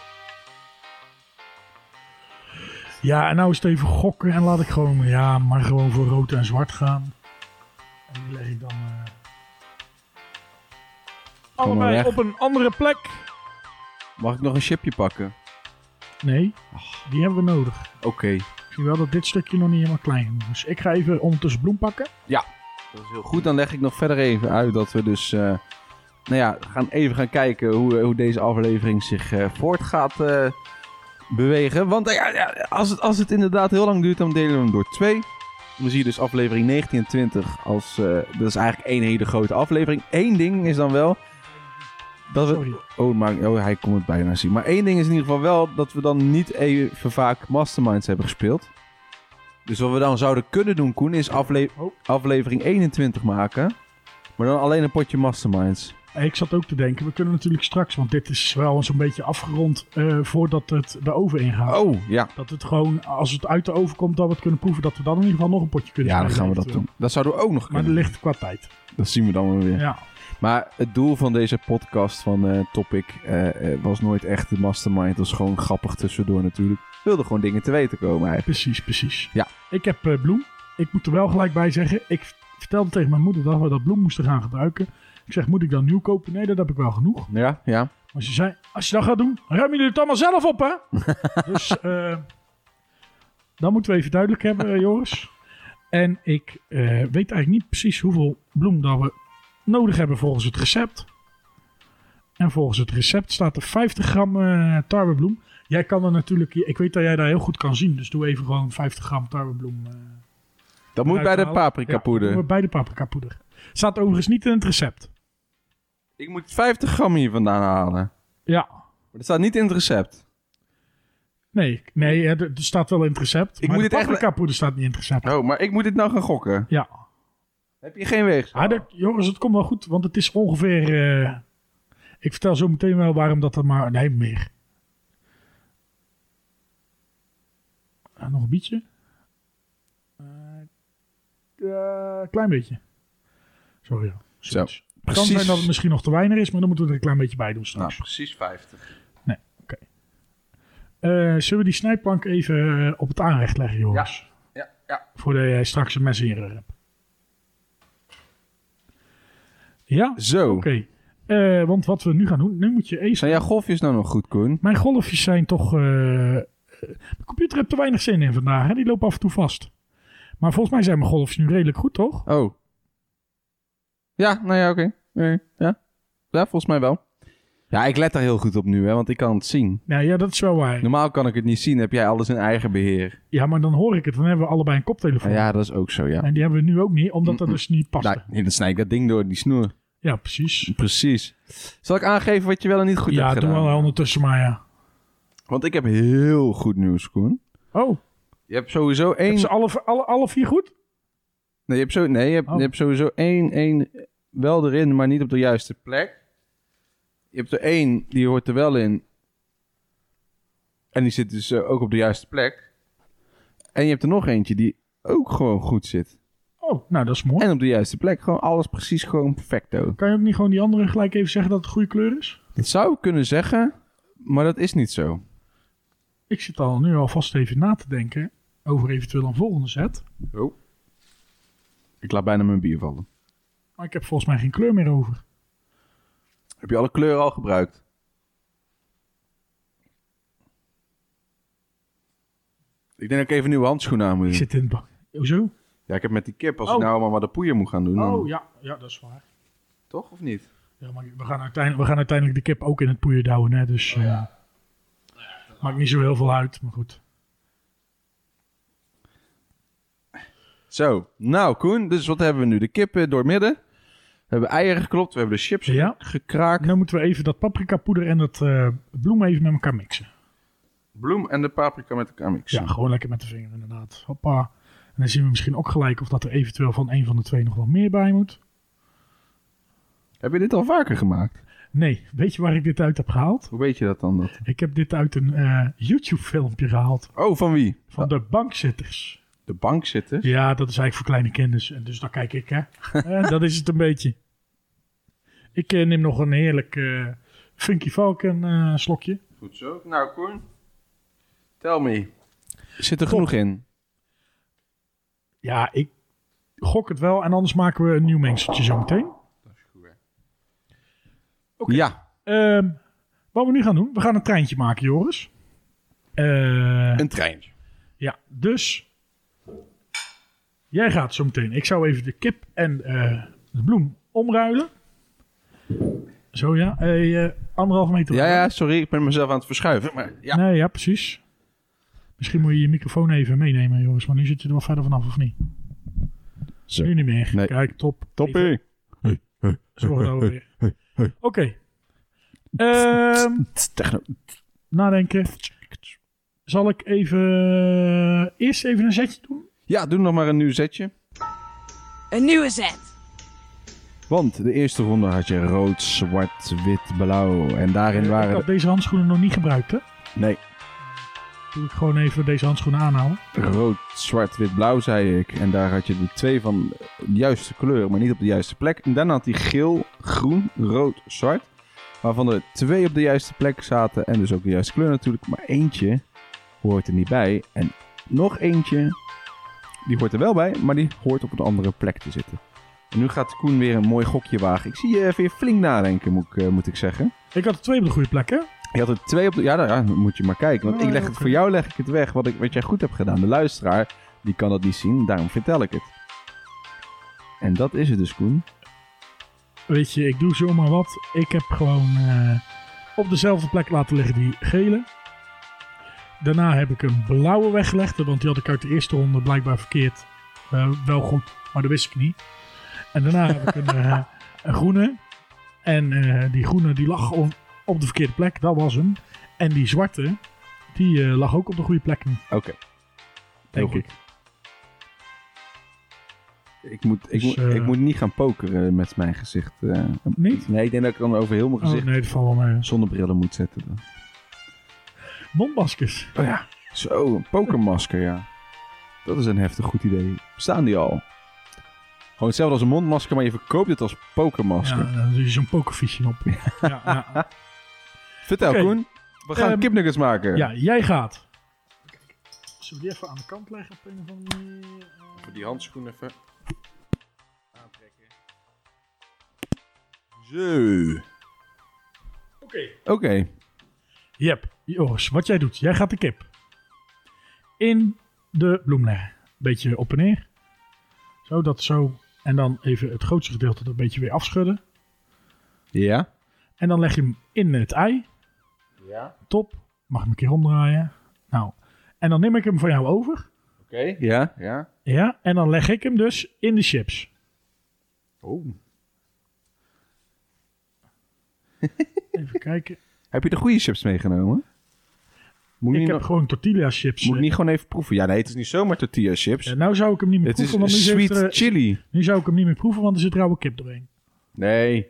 C: Ja, en nou is het even gokken en laat ik gewoon, ja, maar gewoon voor rood en zwart gaan. En die leg ik dan... eh,
B: maar
C: allebei
B: weg.
C: op een andere plek.
B: Mag ik nog een chipje pakken?
C: Nee, die hebben we nodig.
B: Oké.
C: Ik zie wel dat dit stukje nog niet helemaal klein genoeg is. Ik ga even ondertussen bloem pakken.
B: Dat is heel goed. Dan leg ik nog verder even uit dat we dus... eh, nou ja, gaan even gaan kijken hoe, eh, hoe deze aflevering zich eh, voort gaat eh, bewegen. Want eh, ja, ja, als, het, als het inderdaad heel lang duurt, dan delen we hem door twee. Dan zie je dus aflevering 19 en 20 als... eh, dat is eigenlijk één hele grote aflevering. Eén ding is dan wel... Dat we,
C: Sorry.
B: Oh, maar, oh, hij kon het bijna zien. Maar één ding is in ieder geval wel dat we dan niet even vaak Masterminds hebben gespeeld. Dus wat we dan zouden kunnen doen, Koen, is afle-
C: Oh.
B: aflevering 21 maken. Maar dan alleen een potje Masterminds.
C: Ik zat ook te denken, we kunnen natuurlijk straks, want dit is wel zo'n beetje afgerond eh, voordat het de oven ingaat.
B: Oh, ja.
C: Dat het gewoon, als het uit de oven komt, dat we het kunnen proeven. Dat we dan in ieder geval nog een potje kunnen
B: Ja, dan
C: spelen
B: gaan we dat
C: eventueel.
B: doen. Dat zouden we ook nog
C: Maar
B: kunnen.
C: er ligt qua tijd.
B: Dat zien we dan wel weer.
C: Ja.
B: Maar het doel van deze podcast van eh, Topic eh, eh, was nooit echt de Mastermind. Het was gewoon grappig tussendoor natuurlijk. We wilden gewoon dingen te weten komen eigenlijk.
C: Precies, precies.
B: Ja.
C: Ik heb eh, bloem. Ik moet er wel gelijk bij zeggen. Ik v- vertelde tegen mijn moeder dat we dat bloem moesten gaan gebruiken. Ik zeg, moet ik dan nieuw kopen? Nee, dat heb ik wel genoeg.
B: Ja, ja.
C: Maar ze zei, als je dat gaat doen, ruim jullie het allemaal zelf op,
B: [laughs]
C: hè? dus eh dat moeten we even duidelijk hebben, eh, Joris. En ik eh, weet eigenlijk niet precies hoeveel bloem dat we nodig hebben volgens het recept. En volgens het recept staat er 50 gram eh, tarwebloem. Jij kan er natuurlijk, ik weet dat jij daar heel goed kan zien, dus doe even gewoon 50 gram tarwebloem. eh,
B: Dat moet bij de
C: uithalen.
B: paprika poeder.
C: Ja, doen we bij de paprika poeder. Staat overigens niet in het recept.
B: Ik moet 50 gram hier vandaan halen.
C: Ja,
B: Maar dat staat niet in het recept.
C: Nee, nee hè, er er staat wel in het recept.
B: Ik
C: maar
B: moet
C: de
B: dit echt-
C: paprikapoeder staat niet in het recept.
B: Oh, maar ik moet dit nou gaan gokken.
C: Ja.
B: Heb je geen weeg?
C: Ah, dat, jongens, het komt wel goed, want het is ongeveer... eh, ik vertel zo meteen wel waarom dat er maar... Nee, meer. Ah, nog een beetje. eh, klein beetje. Sorry. ja. Zoiets. Het kan zijn dat het
B: Precies.
C: misschien nog te weinig is, maar dan moeten we er een klein beetje bij doen
B: Nou,
C: straks.
B: precies 50.
C: Eh, zullen we die snijplank even eh, op het aanrecht leggen, jongens?
B: Ja, ja.
C: Voordat jij straks een mes in je rug hebt. Ja, oké.
B: Zo.
C: Eh, want wat we nu gaan doen, nu moet je eerst...
B: Zijn jouw golfjes nou nog goed, Koen?
C: Mijn golfjes zijn toch... eh, eh, de computer heeft er weinig zin in vandaag, hè? die lopen af en toe vast. Maar volgens mij zijn mijn golfjes nu redelijk goed, toch?
B: Oh. Ja, nou ja, oké. Nee, Ja. ja, volgens mij wel. Ja, ik let daar heel goed op nu, hè, want ik kan het zien.
C: Nou ja, dat is wel waar.
B: Normaal kan ik het niet zien, heb jij alles in eigen beheer.
C: Ja, maar dan hoor ik het, dan hebben we allebei een koptelefoon.
B: Nou ja, dat is ook zo, ja.
C: En die hebben we nu ook niet, omdat dat
B: Mm-mm.
C: dus niet past.
B: Nou, nee, dan snij ik dat ding door, die snoer.
C: Ja, precies.
B: Precies. Zal ik aangeven wat je wel en niet goed
C: ja,
B: hebt
C: doen we
B: gedaan?
C: wel ondertussen maar, ja.
B: Want ik heb heel goed nieuws, Koen.
C: Oh,
B: Je hebt sowieso één...
C: hebben ze alle, alle, alle vier goed?
B: Nee, je hebt, zo, nee, je hebt,
C: Oh.
B: je hebt sowieso één, één wel erin, maar niet op de juiste plek. Je hebt er één, die hoort er wel in. En die zit dus eh, ook op de juiste plek. En je hebt er nog eentje die ook gewoon goed zit.
C: Oh, nou dat is mooi.
B: En op de juiste plek. Gewoon alles precies gewoon perfecto.
C: Kan je ook niet gewoon die andere gelijk even zeggen dat het goede kleur is?
B: Dat zou ik kunnen zeggen, maar dat is niet zo.
C: Ik zit al nu alvast even na te denken over eventueel een volgende set.
B: Oh. Ik laat bijna mijn bier vallen.
C: Maar ik heb volgens mij geen kleur meer over.
B: Heb je alle kleuren al gebruikt? Ik denk dat ik even nieuwe handschoenen aan moet
C: Ik
B: doen.
C: zit in het Oh, bak. Hoezo?
B: Ja, ik heb met die kip, als
C: Oh.
B: ik nou allemaal maar de poeier moet gaan doen, dan-
C: Oh ja, ja, dat is waar.
B: toch of niet?
C: Ja, maar we gaan uiteindelijk, we gaan uiteindelijk de kip ook in het poeier douwen, hè? dus eh, maakt niet zo heel veel uit, maar goed.
B: Zo, nou Koen, dus wat hebben we nu? De kip eh, doormidden. We hebben eieren geklopt, we hebben de chips
C: Ja.
B: gekraakt.
C: Dan Nou moeten we even dat paprika poeder en dat eh, bloem even met elkaar mixen.
B: Bloem en de paprika met elkaar mixen.
C: Ja, gewoon lekker met de vinger inderdaad. Hoppa. En dan zien we misschien ook gelijk of dat er eventueel van een van de twee nog wel meer bij moet.
B: Heb je dit al vaker gemaakt?
C: Nee, weet je waar ik dit uit heb gehaald?
B: Hoe weet je dat dan? Dat?
C: Ik heb dit uit een eh, YouTube-filmpje gehaald
B: Oh, van wie?
C: van de bankzitters.
B: de bank zitten.
C: Ja, dat is eigenlijk voor kleine kinders. En dus daar kijk ik, hè. Eh, dat is het een beetje. Ik eh, neem nog een heerlijk eh, Funky Falcon eh, slokje.
B: Goed zo. Nou, Koen. Tell me. Zit er genoeg in?
C: Ja, ik gok het wel. En anders maken we een nieuw mengseltje zometeen. Oké.
B: Ja.
C: Ehm, wat we nu gaan doen, we gaan een treintje maken, Joris. Eh,
B: Een treintje.
C: ja, dus jij gaat zo meteen. Ik zou even de kip en eh, de bloem omruilen. Zo ja, Eh, eh, anderhalf meter.
B: Ja, ja, sorry. Ik ben mezelf aan het verschuiven. Maar ja.
C: Nee, ja, precies. Misschien moet je je microfoon even meenemen, Joris. Maar nu zit je er wel verder vanaf, of niet?
B: Zo.
C: Nu niet meer.
B: Nee.
C: Kijk, top. Even
B: Toppie.
C: Zorg nou weer. Oké. Ehm,
B: Techno.
C: nadenken. Zal ik even eh, eerst even een zetje doen?
B: Ja, doe nog maar een nieuw zetje.
A: Een nieuwe zet.
B: Want de eerste ronde had je rood, zwart, wit, blauw. En daarin
C: ik
B: waren...
C: had
B: de-
C: deze handschoenen nog niet gebruikt, hè?
B: Nee,
C: Doe ik gewoon even deze handschoenen aanhouden.
B: rood, zwart, wit, blauw zei ik. En daar had je die twee van de juiste kleur, maar niet op de juiste plek. En daarna had hij geel, groen, rood, zwart. Waarvan er twee op de juiste plek zaten. En dus ook de juiste kleur natuurlijk. Maar eentje hoort er niet bij. En nog eentje, die hoort er wel bij, maar die hoort op een andere plek te zitten. En nu gaat Koen weer een mooi gokje wagen. Ik zie je even flink nadenken, moet ik, eh, moet ik zeggen.
C: Ik had er twee op de goede plek, hè?
B: Je had er twee op de... Ja, nou ja, dan moet je maar kijken. Want
C: Oh,
B: ik leg
C: ja,
B: het
C: oké.
B: voor jou leg ik het weg wat, ik, wat jij goed hebt gedaan. De luisteraar, die kan dat niet zien. Daarom vertel ik het. En dat is het dus, Koen.
C: Weet je, ik doe zomaar wat. Ik heb gewoon eh, op dezelfde plek laten liggen die gele. Daarna heb ik een blauwe weggelegd, want die had ik uit de eerste ronde blijkbaar verkeerd. Eh, wel goed, maar dat wist ik niet. En daarna heb ik een, eh, [laughs] een groene. En eh, die groene die lag op, op de verkeerde plek, dat was hem. En die zwarte, die eh, lag ook op de goede plek,
B: Oké. Heel
C: denk
B: goed.
C: ik.
B: Ik moet, ik,
C: Dus,
B: moet, ik
C: eh,
B: moet niet gaan pokeren met mijn gezicht. eh.
C: Niet?
B: Nee, ik denk dat ik dan over heel mijn
C: Oh
B: gezicht
C: nee, dat valt wel mee.
B: zonnebrillen moet zetten. Dan.
C: Mondmaskers.
B: Oh ja. Zo, een pokermasker, ja. Dat is een heftig goed idee. Bestaan die al? Gewoon hetzelfde als een mondmasker, maar je verkoopt het als pokermasker.
C: Ja, daar doe je zo'n pokerfiche op. Ja, ja.
B: Vertel,
C: Oké.
B: Koen. We gaan
C: Ehm,
B: kipnuggets maken.
C: Ja, jij gaat. Zullen we die even aan de kant leggen op een of andere manier? Eh,
B: Voor die handschoen even aantrekken. Zo.
C: Oké.
B: Oké.
C: Jep, Joris, wat jij doet. Jij gaat de kip in de bloem leggen. Beetje op en neer. Zo, dat zo. En dan even het grootste gedeelte er een beetje weer afschudden.
B: Ja.
C: En dan leg je hem in het ei.
B: Ja.
C: Top. Mag hem een keer omdraaien. Nou, en dan neem ik hem van jou over.
B: Oké. Ja. Ja.
C: Ja, en dan leg ik hem dus in de chips.
B: Oh.
C: Even [laughs] kijken.
B: Heb je de goede chips meegenomen? Moet ik,
C: Ik
B: niet,
C: heb
B: nog-
C: gewoon tortilla chips. eh.
B: moet ik niet gewoon even proeven? Ja, nee, het is niet zomaar tortilla chips.
C: Ja, nou zou ik hem niet meer
B: het is
C: proeven, want nu zit
B: sweet
C: er, eh,
B: chili.
C: Nu zou ik hem niet meer proeven, want er zit rauwe kip doorheen.
B: Nee.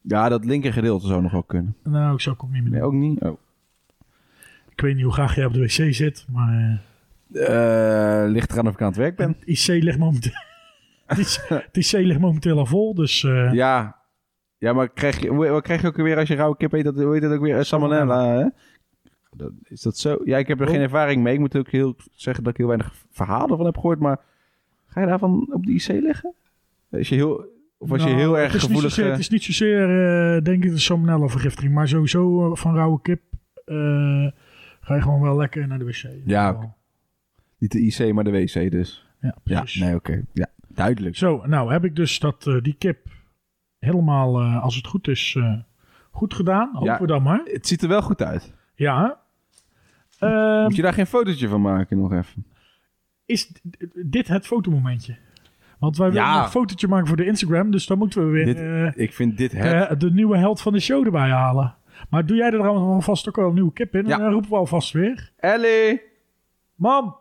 B: Ja, dat linker gedeelte zou nog wel kunnen.
C: Nou, ik zou hem niet meer
B: Nee,
C: doen.
B: ook niet. Oh.
C: Ik weet niet hoe graag jij op de wc zit, maar eh,
B: Eh, ligt eraan of ik aan het werk ben.
C: het IC ligt momenteel... [laughs] het
B: [laughs]
C: IC het IC ligt momenteel al vol, dus eh,
B: Ja. Ja, maar krijg je, hoe- wat krijg je ook weer als je rauwe kip eet? Dat, hoe heet dat ook weer? Eh, Salmonella, hè? Dat- Is dat zo? Ja, ik heb er
C: Oh.
B: geen ervaring mee. Ik moet ook heel zeggen dat ik heel weinig verhalen van heb gehoord. Maar ga je daarvan op de IC leggen? Als je heel, of als je
C: nou,
B: heel
C: het
B: erg
C: is niet
B: gevoelig...
C: zozeer-
B: eh,
C: het is niet zozeer, eh, denk ik, de salmonella-vergiftiging, maar sowieso eh, van rauwe kip eh, ga je gewoon wel lekker naar de wc.
B: Ja, Niet de IC, maar de WC dus.
C: ja,
B: Ja,
C: precies.
B: nee, oké. Ja, duidelijk.
C: Zo, nou heb ik dus dat, eh, die kip helemaal, eh, als het goed is, eh, goed gedaan. Hopen we dan maar.
B: Het ziet er wel goed uit.
C: Ja. Ehm,
B: Moet je daar geen fotootje van maken nog even?
C: is d- d- dit het fotomomentje? Want wij willen
B: Ja.
C: een fotootje maken voor de Instagram, dus dan moeten we weer
B: Dit-
C: eh,
B: Ik vind dit het...
C: eh, de nieuwe held van de show erbij halen. Maar doe jij er dan alvast ook wel een nieuwe kip in?
B: Ja.
C: En dan roepen we alvast weer.
B: Ellie!
C: Mam!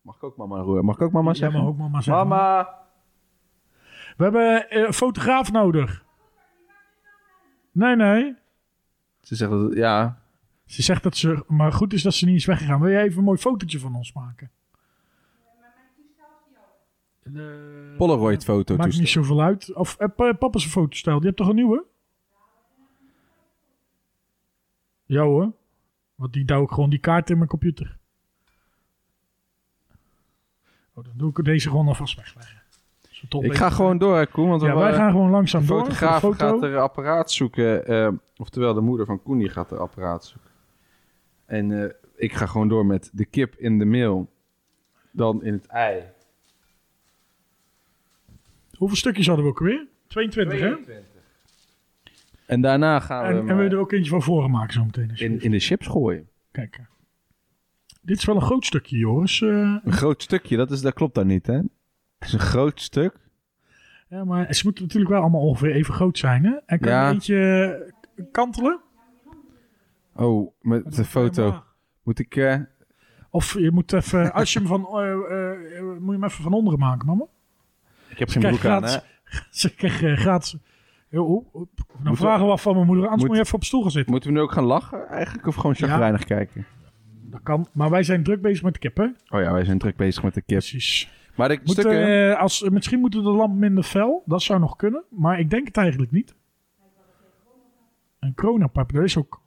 B: Mag ik ook mama roeren? Mag ik ook mama
C: Ja,
B: zeggen?
C: maar ook mama zeggen.
B: Mama!
C: We hebben eh, een fotograaf nodig. Nee, nee.
B: Ze zegt dat... Ja,
C: Ze zegt dat ze... Maar goed is dat ze niet is weggegaan. Wil jij even een mooi fotootje van ons maken? De-
B: Polaroid foto
C: Maakt niet zoveel uit. Of eh, pa- papa zijn fotostijl. Die hebt toch een nieuwe? Ja hoor. Want die douw ik gewoon die kaart in mijn computer. Oh, dan doe ik deze gewoon alvast wegleggen. Dat is een top
B: Ik
C: idee.
B: ga gewoon door, hè, Koen. Want we
C: Ja, wij
B: waren-
C: gaan gewoon langzaam
B: de
C: door.
B: fotograaf
C: Voor de foto.
B: gaat eh, er apparaat zoeken. eh, oftewel, de moeder van Koen die gaat er apparaat zoeken. En eh, ik ga gewoon door met de kip in de mail. Dan in het ei.
C: Hoeveel stukjes hadden we ook weer? 22, hè?
B: En daarna gaan we,
C: En, en
B: hem,
C: wil je
B: eh,
C: er ook eentje van voren maken zo meteen?
B: in,
C: alsjeblieft?
B: in de chips gooien.
C: Kijk. eh. Dit is wel een groot stukje, Joris. eh.
B: Een groot stukje, dat, is, dat klopt daar niet, hè? Het is een groot stuk.
C: ja, maar ze moeten natuurlijk wel allemaal ongeveer even groot zijn, hè? En kan je
B: Ja.
C: een beetje eh, kantelen?
B: Oh, met de foto. Moet ik... eh,
C: Of je moet even, [laughs] als je hem van, eh, eh, eh, moet je hem even van onderen maken, mama. [laughs]
B: ik heb
C: Ze
B: geen broek aan, hè?
C: gratis, ze krijgen eh, gratis. Yo, ho, ho,
B: we-
C: nou vragen we af van mijn moeder, anders
B: moet-
C: moet, je even op stoel gaan zitten.
B: Moeten we nu ook gaan lachen eigenlijk? Of gewoon chagrijnig kijken?
C: Dat kan, maar wij zijn druk bezig met de kip, hè?
B: Oh ja, wij zijn druk bezig met de kip.
C: Precies.
B: Maar de
C: Moeten,
B: stukken...
C: eh, als, misschien moeten de lamp minder fel, dat zou nog kunnen. Maar ik denk het eigenlijk niet. Een coronapap, dat is ook...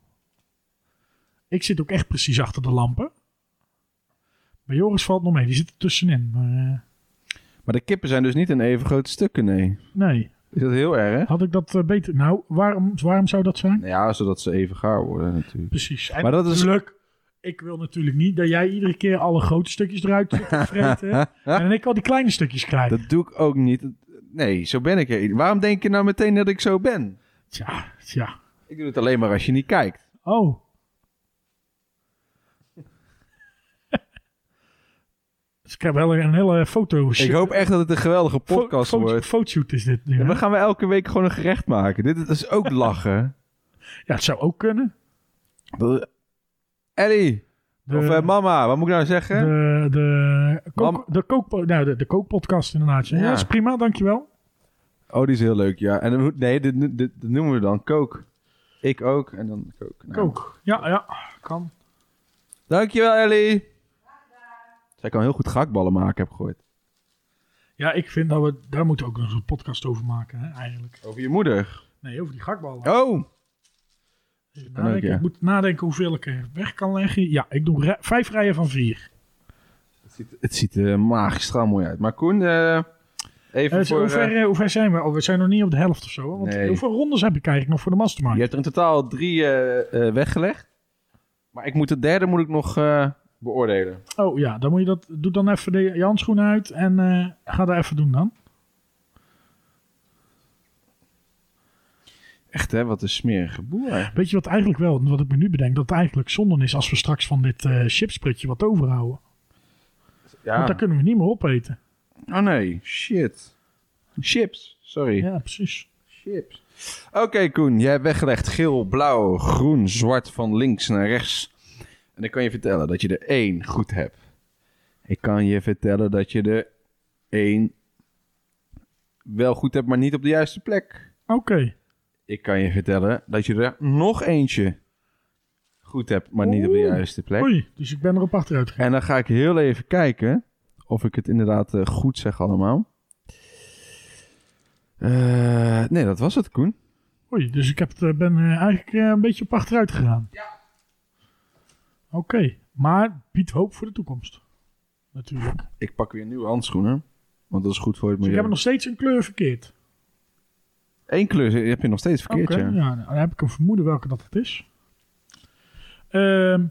C: Ik zit ook echt precies achter de lampen. Bij Joris valt nog mee, die zit er tussenin. Maar, eh,
B: Maar de kippen zijn dus niet in even grote stukken, nee.
C: nee.
B: Is dat heel erg?
C: Had ik dat eh, beter... Nou, waarom, waarom zou dat zijn?
B: Ja, zodat ze even gaar worden natuurlijk.
C: Precies. En
B: Maar dat is-
C: natuurlijk, ik wil natuurlijk niet dat jij iedere keer alle grote stukjes eruit [laughs] zit te vreten.
B: [laughs]
C: en dan ik al die kleine stukjes krijg.
B: Dat doe ik ook niet. Nee, zo ben ik er. niet. Waarom denk je nou meteen dat ik zo ben?
C: Tja, tja.
B: Ik doe het alleen maar als je niet kijkt.
C: Oh. [laughs] dus ik heb wel een hele foto.
B: Ik hoop echt dat het een geweldige podcast wordt.
C: Fotoshoot is dit nu.
B: En
C: hè?
B: dan gaan we elke week gewoon een gerecht maken. Dit is
C: [laughs]
B: ook lachen.
C: Ja, het zou ook kunnen.
B: Dat- Ellie,
C: De,
B: of eh, mama, wat moet ik nou zeggen?
C: de, de,
B: Mam-
C: kook, de, kook, nou, de, de kookpodcast inderdaad. Ja.
B: Ja.
C: Ja, dat is prima, dankjewel.
B: Oh, die is heel leuk, ja. En dan moet- nee, dit, dit, dit noemen we dan kook. Ik ook, en dan kook. Nou.
C: Kook. Ja, ja, kan.
B: Dankjewel, Ellie. Zij kan heel goed gehaktballen maken, heb ik gehoord.
C: Ja, ik vind dat we daar moeten we ook nog eens een podcast over maken, hè, eigenlijk.
B: Over je moeder.
C: Nee, over die gakballen.
B: Oh!
C: Even
B: kan
C: nadenken.
B: ook, ja.
C: Ik moet nadenken hoeveel ik er weg kan leggen. Ja, ik doe ri- vijf rijen van vier.
B: Het ziet, het ziet er magisch trouw mooi uit. Maar Koen, eh, even
C: Eh,
B: voor...
C: hoe, ver,
B: eh,
C: eh, hoe ver zijn we? Oh, we zijn nog niet op de helft of zo. hè? Want
B: Nee.
C: hoeveel rondes heb ik eigenlijk nog voor de mastermind?
B: je hebt er in totaal drie eh, eh, weggelegd. Maar ik moet de derde moet ik nog eh, beoordelen.
C: Oh ja, dan moet je dat. Doe dan even de, je handschoenen uit en eh, ga dat even doen dan.
B: Echt hè, wat een smerige boer.
C: Weet je wat eigenlijk wel, wat ik me nu bedenk, dat het eigenlijk zonde is als we straks van dit eh chipsprutje wat overhouden. Want
B: Ja.
C: dat kunnen we niet meer opeten.
B: Oh nee, shit. Chips, sorry.
C: Ja, precies.
B: Chips. Oké Koen, jij hebt weggelegd geel, blauw, groen, zwart van links naar rechts. En ik kan je vertellen dat je er één goed hebt. Ik kan je vertellen dat je er één wel goed hebt, maar niet op de juiste plek.
C: Oké.
B: Ik kan je vertellen dat je er nog eentje goed hebt, maar niet op de
C: Oeh.
B: juiste plek.
C: Oei, dus ik ben erop achteruit gegaan.
B: En dan ga ik heel even kijken of ik het inderdaad eh, goed zeg allemaal. Eh, nee, dat was het, Koen.
C: Oei, dus ik heb, het, eh, ben eh, eigenlijk eh, een beetje op achteruit gegaan. Ja. Oké, maar biedt hoop voor de toekomst. Natuurlijk. Dus
B: Ik pak weer nieuwe handschoenen, want dat is goed voor het
C: ik
B: milieu.
C: heb nog steeds een kleur verkeerd.
B: Eén kleur heb je nog steeds verkeerd,
C: Oké,
B: ja.
C: ja, nou, dan heb ik een vermoeden welke dat het is. Ehm,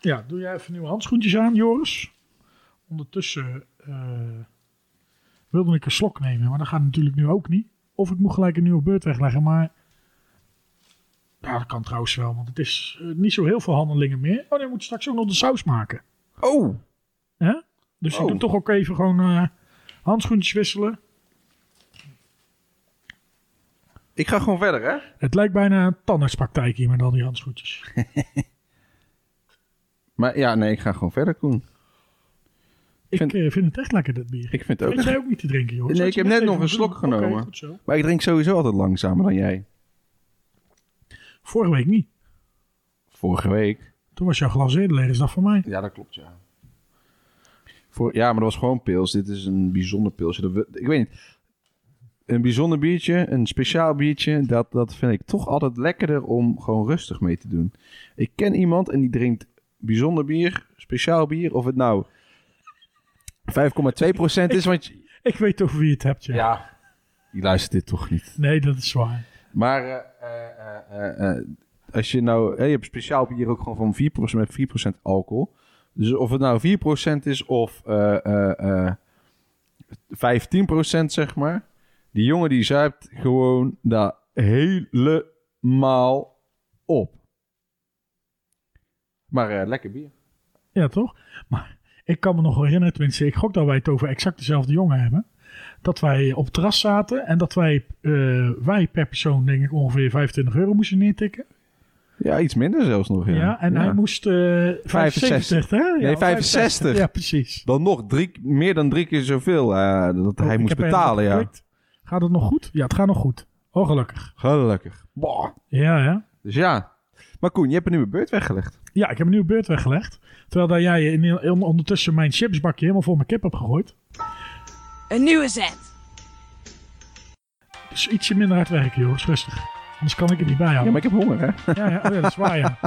C: ja, doe jij even nieuwe handschoentjes aan, Joris. Ondertussen eh, wilde ik een slok nemen, maar dat gaat natuurlijk nu ook niet. Of ik moet gelijk een nieuwe beurt wegleggen, maar... Ja, dat kan trouwens wel, want het is eh, niet zo heel veel handelingen meer. Oh nee, we moeten straks ook nog de saus maken.
B: Oh,
C: Hè? Dus
B: Oh.
C: ik doe toch ook even gewoon eh, handschoentjes wisselen.
B: ik ga gewoon verder, hè?
C: Het lijkt bijna een tandartspraktijk hier met al die handschoentjes.
B: Maar ja, nee, ik ga gewoon verder, Koen.
C: Ik
B: Vind-
C: vind, vind het echt lekker, dat bier.
B: Ik vind het ook.
C: Vind jij ook niet te drinken, joh?
B: Nee, ik heb net nog een slok genomen.
C: goed zo.
B: Maar ik drink sowieso altijd langzamer dan jij.
C: Vorige week niet.
B: Vorige week.
C: Toen was jouw glas eerder leeg, is dat van mij.
B: Ja, dat klopt, ja. Voor, ja, maar dat was gewoon pils. Dit is een bijzonder pilsje. Dat we- ik weet niet. Een bijzonder biertje, een speciaal biertje, dat, dat vind ik toch altijd lekkerder om gewoon rustig mee te doen. Ik ken iemand en die drinkt bijzonder bier, speciaal bier, of het nou 5,2% is, want je-
C: Ik weet over wie je het hebt, ja.
B: ja, je luistert dit toch niet.
C: Nee, dat is waar.
B: Maar eh, eh, eh, eh, als je nou... hè, je hebt speciaal bier ook gewoon van 4%, met 4% alcohol. Dus of het nou 4% is of eh, eh, eh, 15% zeg maar. Die jongen die zuipt gewoon daar helemaal op. Maar eh, lekker bier.
C: Ja, toch? Maar ik kan me nog herinneren, tenminste, ik gok dat wij het over exact dezelfde jongen hebben. Dat wij op het terras zaten en dat wij, eh, wij per persoon, denk ik, ongeveer 25 euro moesten neertikken.
B: Ja, iets minder zelfs nog. Ja,
C: Ja, en hij moest eh 75, hè? Ja,
B: Nee, 65.
C: Ja, precies.
B: Dan nog drie, meer dan drie keer zoveel eh, dat hij
C: Oh, Ik
B: moest
C: heb er
B: betalen,
C: helemaal
B: ja.
C: op gedrukt. Gaat het nog goed? Ja, het gaat nog goed. Oh, gelukkig.
B: Gelukkig. Bah.
C: Ja, ja.
B: Dus ja. Maar Koen, je hebt er nu een beurt weggelegd.
C: Ja, ik heb een nieuwe beurt weggelegd. Terwijl dat jij in, in- ondertussen mijn chipsbakje helemaal vol mijn kip hebt gegooid.
A: Een nieuwe zet.
C: Dus ietsje minder hard werken, jongens. Rustig. Anders kan ik het niet bijhouden.
B: ik heb honger, hè?
C: Ja, ja, oh ja, dat is waar, ja.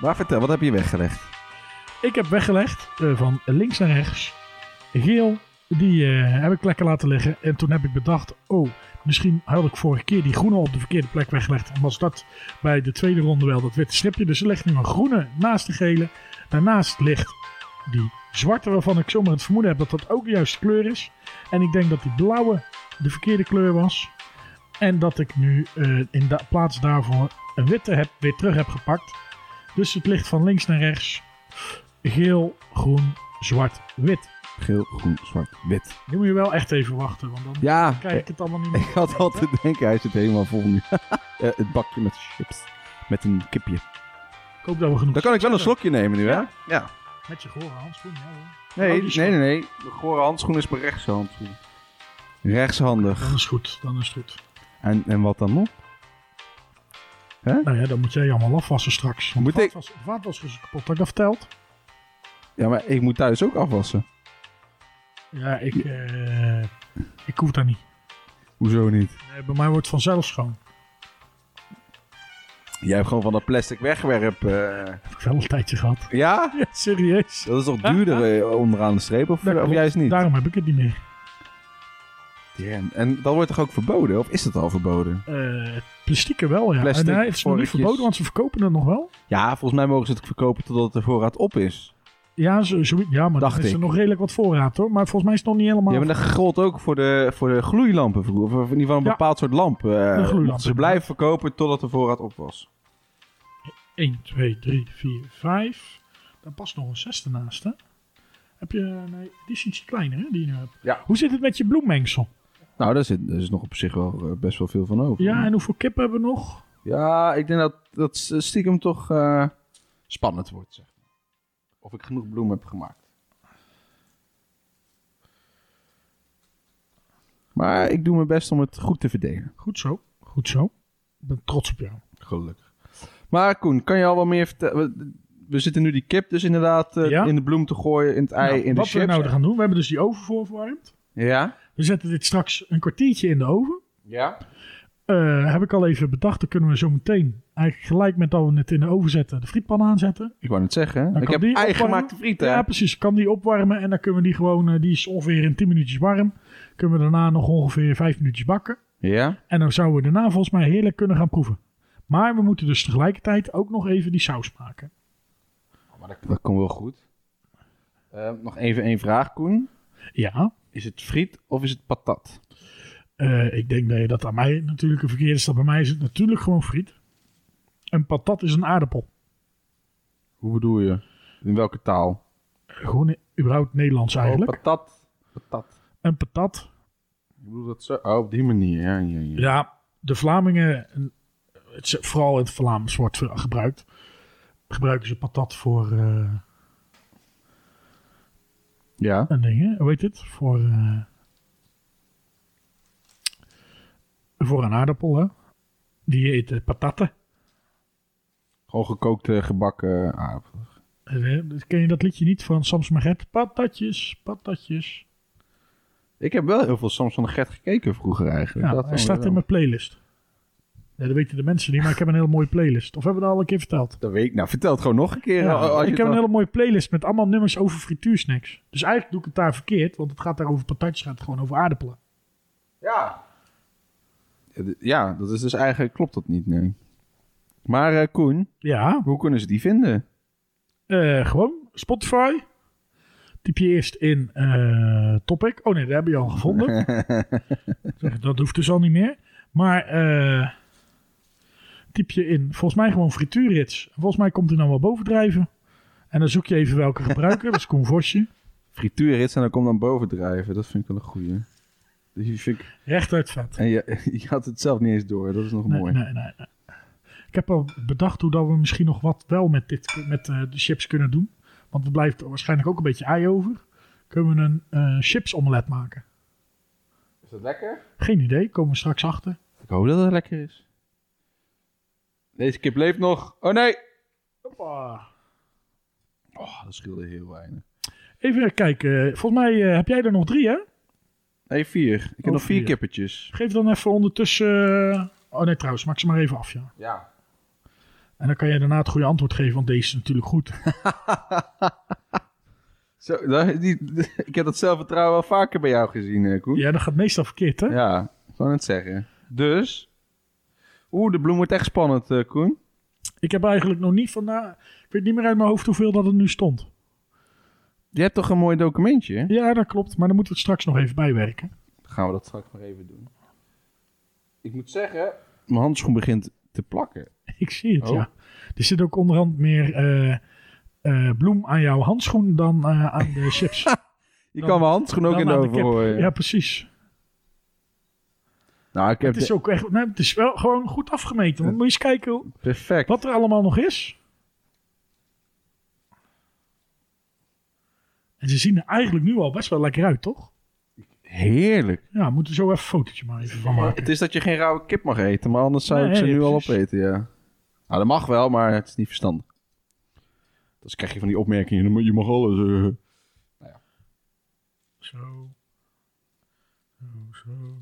B: Maar vertel, wat heb je weggelegd?
C: Ik heb weggelegd eh, van links naar rechts. Geel, die eh, heb ik lekker laten liggen. En toen heb ik bedacht, oh, misschien had ik vorige keer die groene op de verkeerde plek weggelegd. En was dat bij de tweede ronde wel dat witte stripje. Dus er ligt nu een groene naast de gele. Daarnaast ligt die zwarte, waarvan ik zomaar het vermoeden heb dat dat ook de juiste kleur is. En ik denk dat die blauwe de verkeerde kleur was. En dat ik nu eh, in da- plaats daarvoor een witte heb, weer terug heb gepakt. Dus het ligt van links naar rechts geel, groen, zwart, wit.
B: Geel, groen, zwart, wit.
C: Nu moet je wel echt even wachten, want dan
B: Ja,
C: krijg ik het allemaal niet
B: ik
C: meer.
B: had al te denken, hij zit helemaal vol nu. [laughs] Eh, het bakje met chips. Met een kipje.
C: Ik hoop dat we genoeg
B: Dan kan ik wel een slokje nemen nu, hè?
C: Ja.
B: Ja.
C: Met je gore handschoen, ja hoor.
B: Nee,
C: Oh, die
B: nee,
C: is
B: nee, nee. Mijn gore handschoen is mijn rechtse handschoen. Rechtshandig.
C: Dan is het goed, dan is het goed.
B: En, en wat dan nog?
C: Nou ja, dan moet jij allemaal afwassen straks. Want
B: Moet
C: het
B: ik?
C: vaatwas- Het vaatwas is kapot, had ik dat verteld?
B: Ja, maar ik moet thuis ook afwassen.
C: Ja, ik, eh, ik hoef dat niet.
B: Hoezo niet?
C: Nee, bij mij wordt het vanzelf schoon. [laughs]
B: Jij hebt gewoon van dat plastic wegwerp. eh.
C: Heb ik wel een tijdje gehad. [laughs]
B: Ja?
C: Ja, serieus.
B: Dat is toch duurder eh, onderaan de streep, of,
C: Dat
B: of
C: klopt.
B: juist niet?
C: Daarom heb ik het niet meer.
B: Damn. En dat wordt toch ook verboden? Of is dat al verboden?
C: Eh plastieke wel, ja.
B: Plastic,
C: en, nee, het is nog niet
B: vorkjes.
C: verboden, want ze verkopen het nog wel.
B: Ja, volgens mij mogen ze het verkopen totdat de voorraad op is.
C: Ja, zo, zo, ja maar
B: Dacht
C: dan is er
B: ik.
C: nog redelijk wat voorraad hoor. Maar volgens mij is het nog niet helemaal...
B: Ja, maar dat geldt ook voor de, voor de gloeilampen vroeger. Of in ieder geval een
C: Ja.
B: bepaald soort lamp. eh,
C: gloeilampen.
B: mochten ze blijven verkopen totdat de voorraad op was.
C: 1, 2, 3, 4, 5. Daar past nog een 6 ernaast, hè? Heb je, nee, die is ietsje kleiner, hè, die je nu hebt.
B: Ja.
C: Hoe zit het met je bloemmengsel?
B: Nou, daar, zit, daar is nog op zich wel eh, best wel veel van over.
C: Ja, en hoeveel kippen hebben we nog?
B: Ja, ik denk dat dat stiekem toch eh, spannend wordt. Zeg. maar. Of ik genoeg bloem heb gemaakt. Maar ik doe mijn best om het goed te verdelen.
C: Goed zo, goed zo. Ik ben trots op jou.
B: Gelukkig. Maar Koen, kan je al wat meer vertellen? We, we zitten nu die kip dus inderdaad eh,
C: Ja.
B: in de bloem te gooien, in het ei,
C: Nou,
B: in de
C: wat
B: chips.
C: we nou gaan doen, we hebben dus die oven voorverwarmd.
B: Ja?
C: We zetten dit straks een kwartiertje in de oven.
B: Ja?
C: Eh, heb ik al even bedacht, dan kunnen we zo meteen, eigenlijk gelijk met dat we het in de oven zetten, de frietpan aanzetten.
B: Ik wou net zeggen, hè?
C: Dan
B: ik
C: kan
B: heb
C: die
B: eigen
C: opwarmen.
B: gemaakte frieten.
C: Ja,
B: hè?
C: precies. Kan die opwarmen en dan kunnen we die gewoon, eh, die is ongeveer in 10 minuutjes warm. Kunnen we daarna nog ongeveer 5 minuutjes bakken.
B: Ja?
C: En dan zouden we daarna volgens mij heerlijk kunnen gaan proeven. Maar we moeten dus tegelijkertijd ook nog even die saus maken.
B: Maar dat, dat komt wel goed. Eh, nog even één vraag, Koen.
C: Ja,
B: Is het friet of is het patat?
C: eh, ik denk dat je dat aan mij natuurlijk een verkeerde stap. Bij mij is het natuurlijk gewoon friet. Een patat is een aardappel.
B: Hoe bedoel je? In welke taal?
C: Gewoon i- überhaupt Nederlands eigenlijk.
B: Oh, patat. Patat.
C: een patat.
B: Ik bedoel dat zo. Oh, op die manier. Ja, ja, ja.
C: Ja, de Vlamingen, en het, is- vooral in het Vlaams wordt veel gebruikt. Gebruiken ze patat voor... eh,
B: ja.
C: een ding, hè? hoe heet het? Voor, eh, voor een aardappel, hè? Die eet eh, patatten.
B: Gewoon gekookte, gebakken aardappelen.
C: Eh, Ken je dat liedje niet van Sam's Maget? Patatjes, patatjes.
B: Ik heb wel heel veel Samson de Gert gekeken vroeger eigenlijk.
C: Ja,
B: Dat
C: hij
B: dan
C: staat
B: wel.
C: in mijn playlist. Ja, dat weten de mensen niet, maar ik heb een hele mooie playlist. Of hebben we dat al een keer verteld?
B: Dat weet ik. Nou, vertel het gewoon nog een keer. eh,
C: Ja,
B: als je
C: ik
B: het
C: heb een
B: dan-
C: hele mooie playlist met allemaal nummers over frituursnacks. Dus eigenlijk doe ik het daar verkeerd, want het gaat daar over patatjes, gaat het gewoon over aardappelen.
B: Ja. Ja, dat is dus eigenlijk... Klopt dat niet, nee. Maar eh, Koen,
C: Ja,
B: hoe kunnen ze die vinden?
C: eh, gewoon Spotify. Typ je eerst in eh, topic. Oh nee, dat heb je al gevonden.
B: [laughs]
C: Zeg, Dat hoeft dus al niet meer. Maar eh, typ je in, volgens mij gewoon frituurrits. Volgens mij komt hij dan wel bovendrijven. En dan zoek je even welke gebruiker. dat is Koen Vosje.
B: Frituurrits en dan kom dan bovendrijven. Dat vind ik wel een goeie. Die vind ik-
C: Recht uit vet.
B: En je, [laughs] je had het zelf niet eens door. Dat is nog
C: Nee,
B: mooi.
C: nee, nee, nee. Ik heb al bedacht hoe dat we misschien nog wat wel met, dit, met eh, de chips kunnen doen. Want er blijft waarschijnlijk ook een beetje ei over. Kunnen we een eh chips omelet maken?
B: Is dat lekker?
C: Geen idee, komen we straks achter.
B: Ik hoop dat het lekker is. Deze kip leeft nog. Oh nee!
C: Hoppa.
B: Oh, dat scheelde heel weinig.
C: Even kijken. Volgens mij eh, heb jij er nog drie, hè?
B: Nee, vier. Ik heb
C: Oh,
B: nog vier,
C: vier.
B: kippertjes.
C: Geef dan even ondertussen. eh, Oh nee, trouwens, maak ze maar even af, ja.
B: Ja.
C: En dan kan jij daarna het goede antwoord geven, want deze is natuurlijk goed.
B: Zo, [laughs] daar- die, ik heb dat zelfvertrouwen wel vaker bij jou gezien, eh, Koen.
C: Ja, dat gaat meestal verkeerd, hè?
B: Ja, gewoon het zeggen. Dus. Oeh, de bloem wordt echt spannend, eh, Koen.
C: Ik heb eigenlijk nog niet vandaag. Ik weet niet meer uit mijn hoofd hoeveel dat er nu stond.
B: Je hebt toch een mooi documentje? hè?
C: Ja, dat klopt, maar dan moeten we het straks nog even bijwerken.
B: Dan gaan we dat straks maar even doen. Ik moet zeggen. Mijn handschoen begint te plakken.
C: Ik zie het,
B: Oh.
C: ja. Er zit ook onderhand meer eh, eh, bloem aan jouw handschoen dan eh, aan de chips.
B: [laughs] Je
C: Dan-
B: kan mijn handschoen ook
C: Dan
B: in de
C: aan kip.
B: oven gooien.
C: Ja, precies.
B: Nou, ik heb
C: Het is
B: de-
C: ook echt. Nee, het is wel gewoon goed afgemeten. Want moet je eens kijken hoe-
B: perfect.
C: wat er allemaal nog is. En ze zien er eigenlijk nu al best wel lekker uit, toch?
B: Heerlijk.
C: Ja, we moeten zo even een fotootje maar even van maken.
B: Het is dat je geen rauwe kip mag eten, maar anders zou ik
C: Nee,
B: ze nu al
C: precies.
B: opeten, ja. Nou, dat mag wel, maar het is niet verstandig. Dus krijg je van die opmerkingen, je mag- je mag alles. eh.
C: Zo. Zo, zo.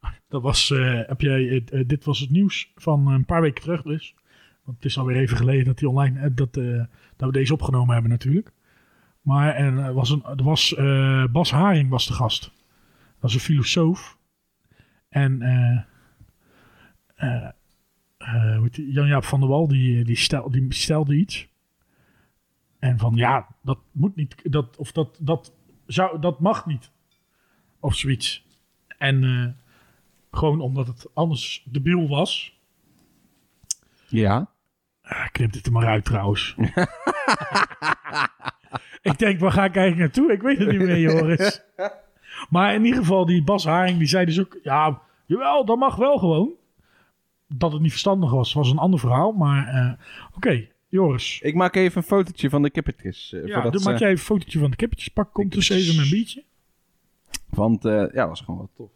C: Ah, Dat was, eh, heb jij, eh, eh, dit was het nieuws van eh, een paar weken terug dus. Want het is alweer even geleden dat, die online, eh, dat, eh, dat we deze opgenomen hebben natuurlijk. Maar en, er was, een, er was eh, Bas Haring was de gast. Dat was een filosoof. En eh, eh, eh, hoe heet die? Jan-Jaap van der Wal die, die, stel, die stelde iets. En van ja, dat moet niet, dat, of dat, dat zou, dat mag niet. Of zoiets. En eh, gewoon omdat het anders debiel was.
B: Ja.
C: Ah, knip dit er maar uit
B: [laughs]
C: trouwens. ik denk, waar ga ik eigenlijk naartoe? Ik weet het niet meer, Joris. Maar in ieder geval, die Bas Haring, die zei dus ook... Ja, jawel, dat mag wel gewoon. Dat het niet verstandig was, was een ander verhaal. Maar eh, oké, Joris.
B: Ik maak even een fotootje van de kippertjes. eh,
C: Ja,
B: voordat
C: dan
B: ze-
C: maak jij even een fotootje van de kippetjes. Pak, komt dus even mijn biertje.
B: Want eh, ja, dat was gewoon wel tof.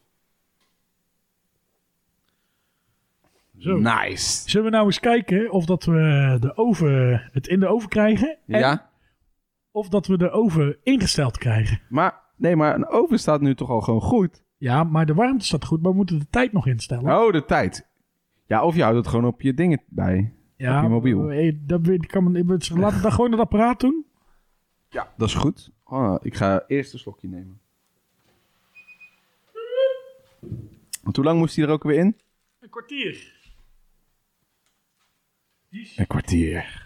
C: Zo.
B: Nice.
C: Zullen we nou eens kijken of dat we de oven, het in de oven krijgen? En
B: Ja,
C: Of dat we de oven ingesteld krijgen?
B: maar nee, maar een oven staat nu toch al gewoon goed.
C: Ja, maar de warmte staat goed, maar we moeten de tijd nog instellen.
B: Oh, de tijd. Ja, of je houdt het gewoon op je dingen bij.
C: ja,
B: op je mobiel.
C: eh, dat weet- kan men, laten we dan gewoon het apparaat doen.
B: Ja, dat is goed. Oh, ik ga eerst een slokje nemen. Want hoe lang moest hij er ook weer in?
C: Een kwartier.
B: Een kwartier.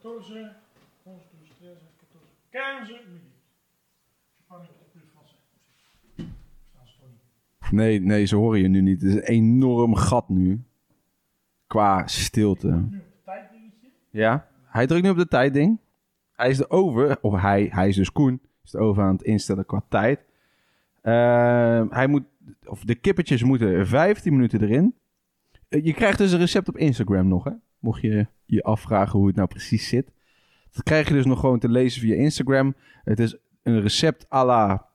C: 14, 15
B: Nee, nee, ze horen je nu niet. Het is een enorm gat nu. Qua stilte. Ja, hij drukt nu op de tijdding. Hij is de over, of hij, hij is dus Koen, is de over aan het instellen qua tijd. Ehm, hij moet, of de kippertjes moeten 15 minuten erin. Eh, Je krijgt dus een recept op Instagram nog, hè? Mocht je je afvragen hoe het nou precies zit. Dat krijg je dus nog gewoon te lezen via Instagram. Het is een recept à la...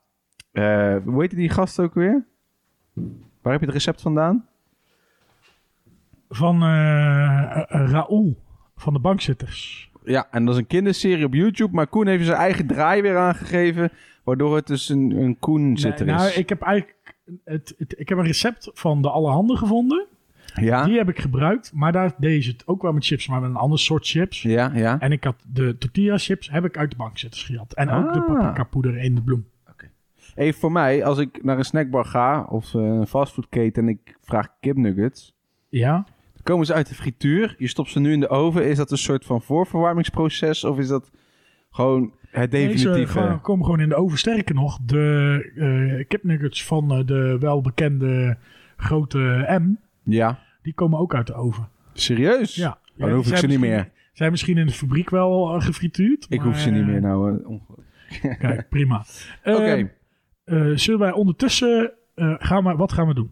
B: eh, hoe heet die gast ook weer? Waar heb je het recept vandaan?
C: eh, Van eh eh, Raoul, van de bankzitters.
B: Ja, en dat is een kinderserie op YouTube. Maar Koen heeft zijn eigen draai weer aangegeven. Waardoor het dus een, een Koen zit er
C: Nee, nou,
B: is.
C: ik heb eigenlijk het, het, ik heb een recept van de allerhande gevonden.
B: ja?
C: Die heb ik gebruikt, maar daar deed ze het ook wel met chips, maar met een ander soort chips.
B: ja, ja.
C: En ik had de tortilla chips heb ik uit de bankzitters gejat. En ook de
B: Ah.
C: paprika poeder in de bloem.
B: Even voor mij, als ik naar een snackbar ga of eh, een fastfoodketen en ik vraag kipnuggets.
C: Ja,
B: Dan komen ze uit de frituur. Je stopt ze nu in de oven. Is dat een soort van voorverwarmingsproces? Of is dat gewoon het
C: Deze
B: definitieve?
C: gaan- komen gewoon in de oven. Sterker nog, de eh kipnuggets van eh, de welbekende grote M,
B: Ja,
C: die komen ook uit de oven.
B: serieus?
C: Ja.
B: Oh, Dan
C: Ja,
B: hoef ik
C: zijn
B: ze niet
C: misschien-
B: meer.
C: Zijn misschien in de fabriek wel eh, gefrituurd.
B: Ik
C: maar,
B: hoef ze niet
C: eh,
B: meer nou. eh, onge-
C: Kijk, prima. Eh,
B: [laughs] Oké,
C: eh, zullen wij ondertussen... eh, gaan we, wat gaan we doen?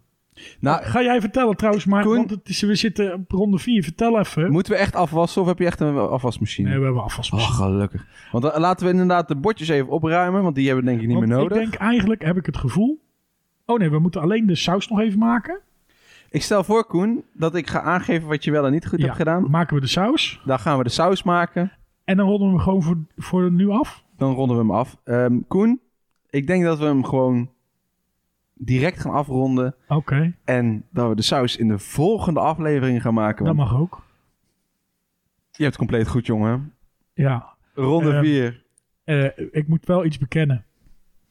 B: nou
C: Ga jij vertellen trouwens, maar
B: Koen?
C: want het is, we zitten op ronde 4. Vertel even.
B: moeten we echt afwassen of heb je echt een afwasmachine?
C: nee, we hebben afwas.
B: Oh, gelukkig. Want dan laten we inderdaad de bordjes even opruimen, want die hebben we denk ik niet meer
C: Want
B: nodig.
C: Ik denk eigenlijk, heb ik het gevoel... Oh nee, we moeten alleen de saus nog even maken.
B: Ik stel voor, Koen, dat ik ga aangeven wat je wel en niet goed
C: Ja.
B: hebt gedaan.
C: Maken we de saus.
B: Dan gaan we de saus maken.
C: En dan ronden we hem gewoon voor, voor nu af.
B: Dan ronden we hem af. Ehm, Koen, ik denk dat we hem gewoon direct gaan afronden.
C: Oké,
B: En dat we de saus in de volgende aflevering gaan maken.
C: dat
B: want
C: mag ook.
B: Je hebt het compleet goed, jongen.
C: Ja,
B: Ronde
C: Ehm.
B: 4.
C: eh, ik moet wel iets bekennen.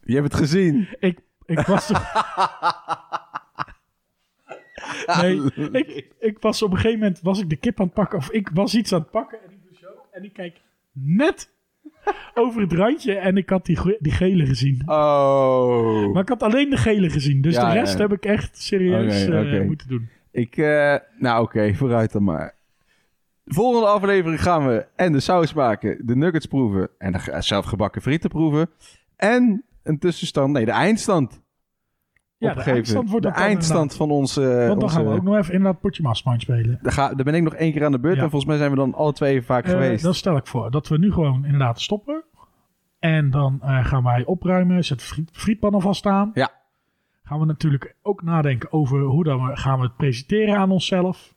B: je hebt het gezien.
C: Ik, ik
B: [laughs]
C: was toch... Nee, ik, ik was op een gegeven moment was ik de kip aan het pakken. Of ik was iets aan het pakken. En ik doe zo. En ik kijk net over het randje. En ik had die, gro- die gele gezien.
B: Oh.
C: Maar ik had alleen de gele gezien. Dus
B: Ja,
C: de rest
B: ja.
C: heb ik echt serieus
B: Oké,
C: eh,
B: oké.
C: moeten doen.
B: Ik, eh, nou oké, vooruit dan maar. Volgende aflevering gaan we en de saus maken, de nuggets proeven en de ge- zelf gebakken frieten proeven. En een tussenstand, nee, de eindstand
C: Ja, de
B: opgeven.
C: eindstand wordt
B: de
C: ook dan
B: eindstand
C: inderdaad.
B: van onze...
C: Want dan
B: onze-
C: gaan we ook nog even inderdaad potje mastermind spelen.
B: daar, ga- daar ben ik nog één keer aan de beurt
C: Ja.
B: en volgens mij zijn we dan alle twee even vaak
C: Eh,
B: geweest.
C: Dan stel ik voor dat we nu gewoon inderdaad stoppen. En dan eh, gaan wij opruimen. Zet de friet, frietpan alvast aan.
B: Ja.
C: Gaan we natuurlijk ook nadenken over hoe dan we, gaan we het presenteren aan onszelf.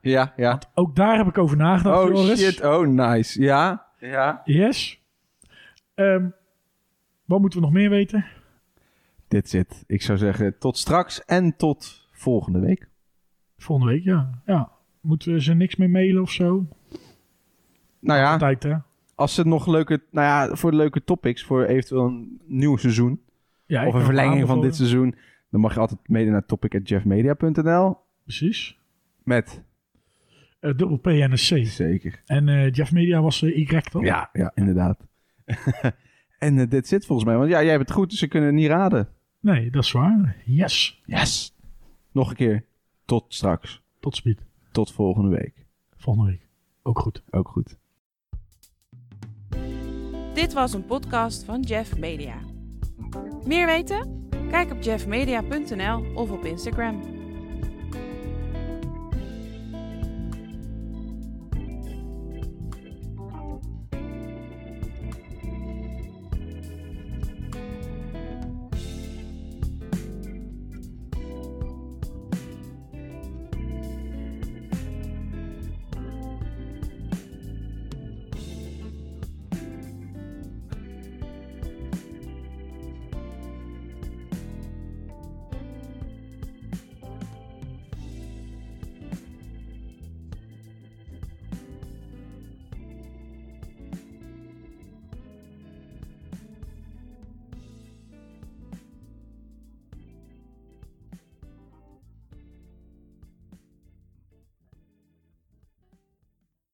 B: Ja, ja.
C: Ook daar heb ik over nagedacht,
B: Oh
C: Joris.
B: shit, oh nice. Ja, ja.
C: Yes. Ehm, wat moeten we nog meer weten?
B: Dit zit. Ik zou zeggen tot straks en tot volgende week.
C: Volgende week, ja. ja. Moeten we ze niks meer mailen of zo?
B: Nou ja.
C: Tijd, hè?
B: Als ze nog leuke, nou ja, voor leuke topics, voor eventueel een nieuw seizoen.
C: Ja, ik
B: of een
C: heb
B: verlenging van
C: aanbevolen.
B: dit seizoen. Dan mag je altijd mede naar topic.jeffmedia.nl.
C: Precies.
B: Met.
C: Eh, dubbel P en een C.
B: Zeker.
C: En eh, Jeff Media was eh, Y, toch?
B: Ja, ja, inderdaad. [laughs] en eh, dit zit volgens mij. Want ja, jij hebt het goed, dus ze kunnen het niet raden.
C: Nee, dat is waar. Yes.
B: Yes. Nog een keer. Tot straks.
C: Tot speed.
B: Tot volgende week.
C: Volgende week. Ook goed.
B: Ook goed.
A: Dit was een podcast van Jeff Media. Meer weten? Kijk op jeffmedia.nl of op Instagram.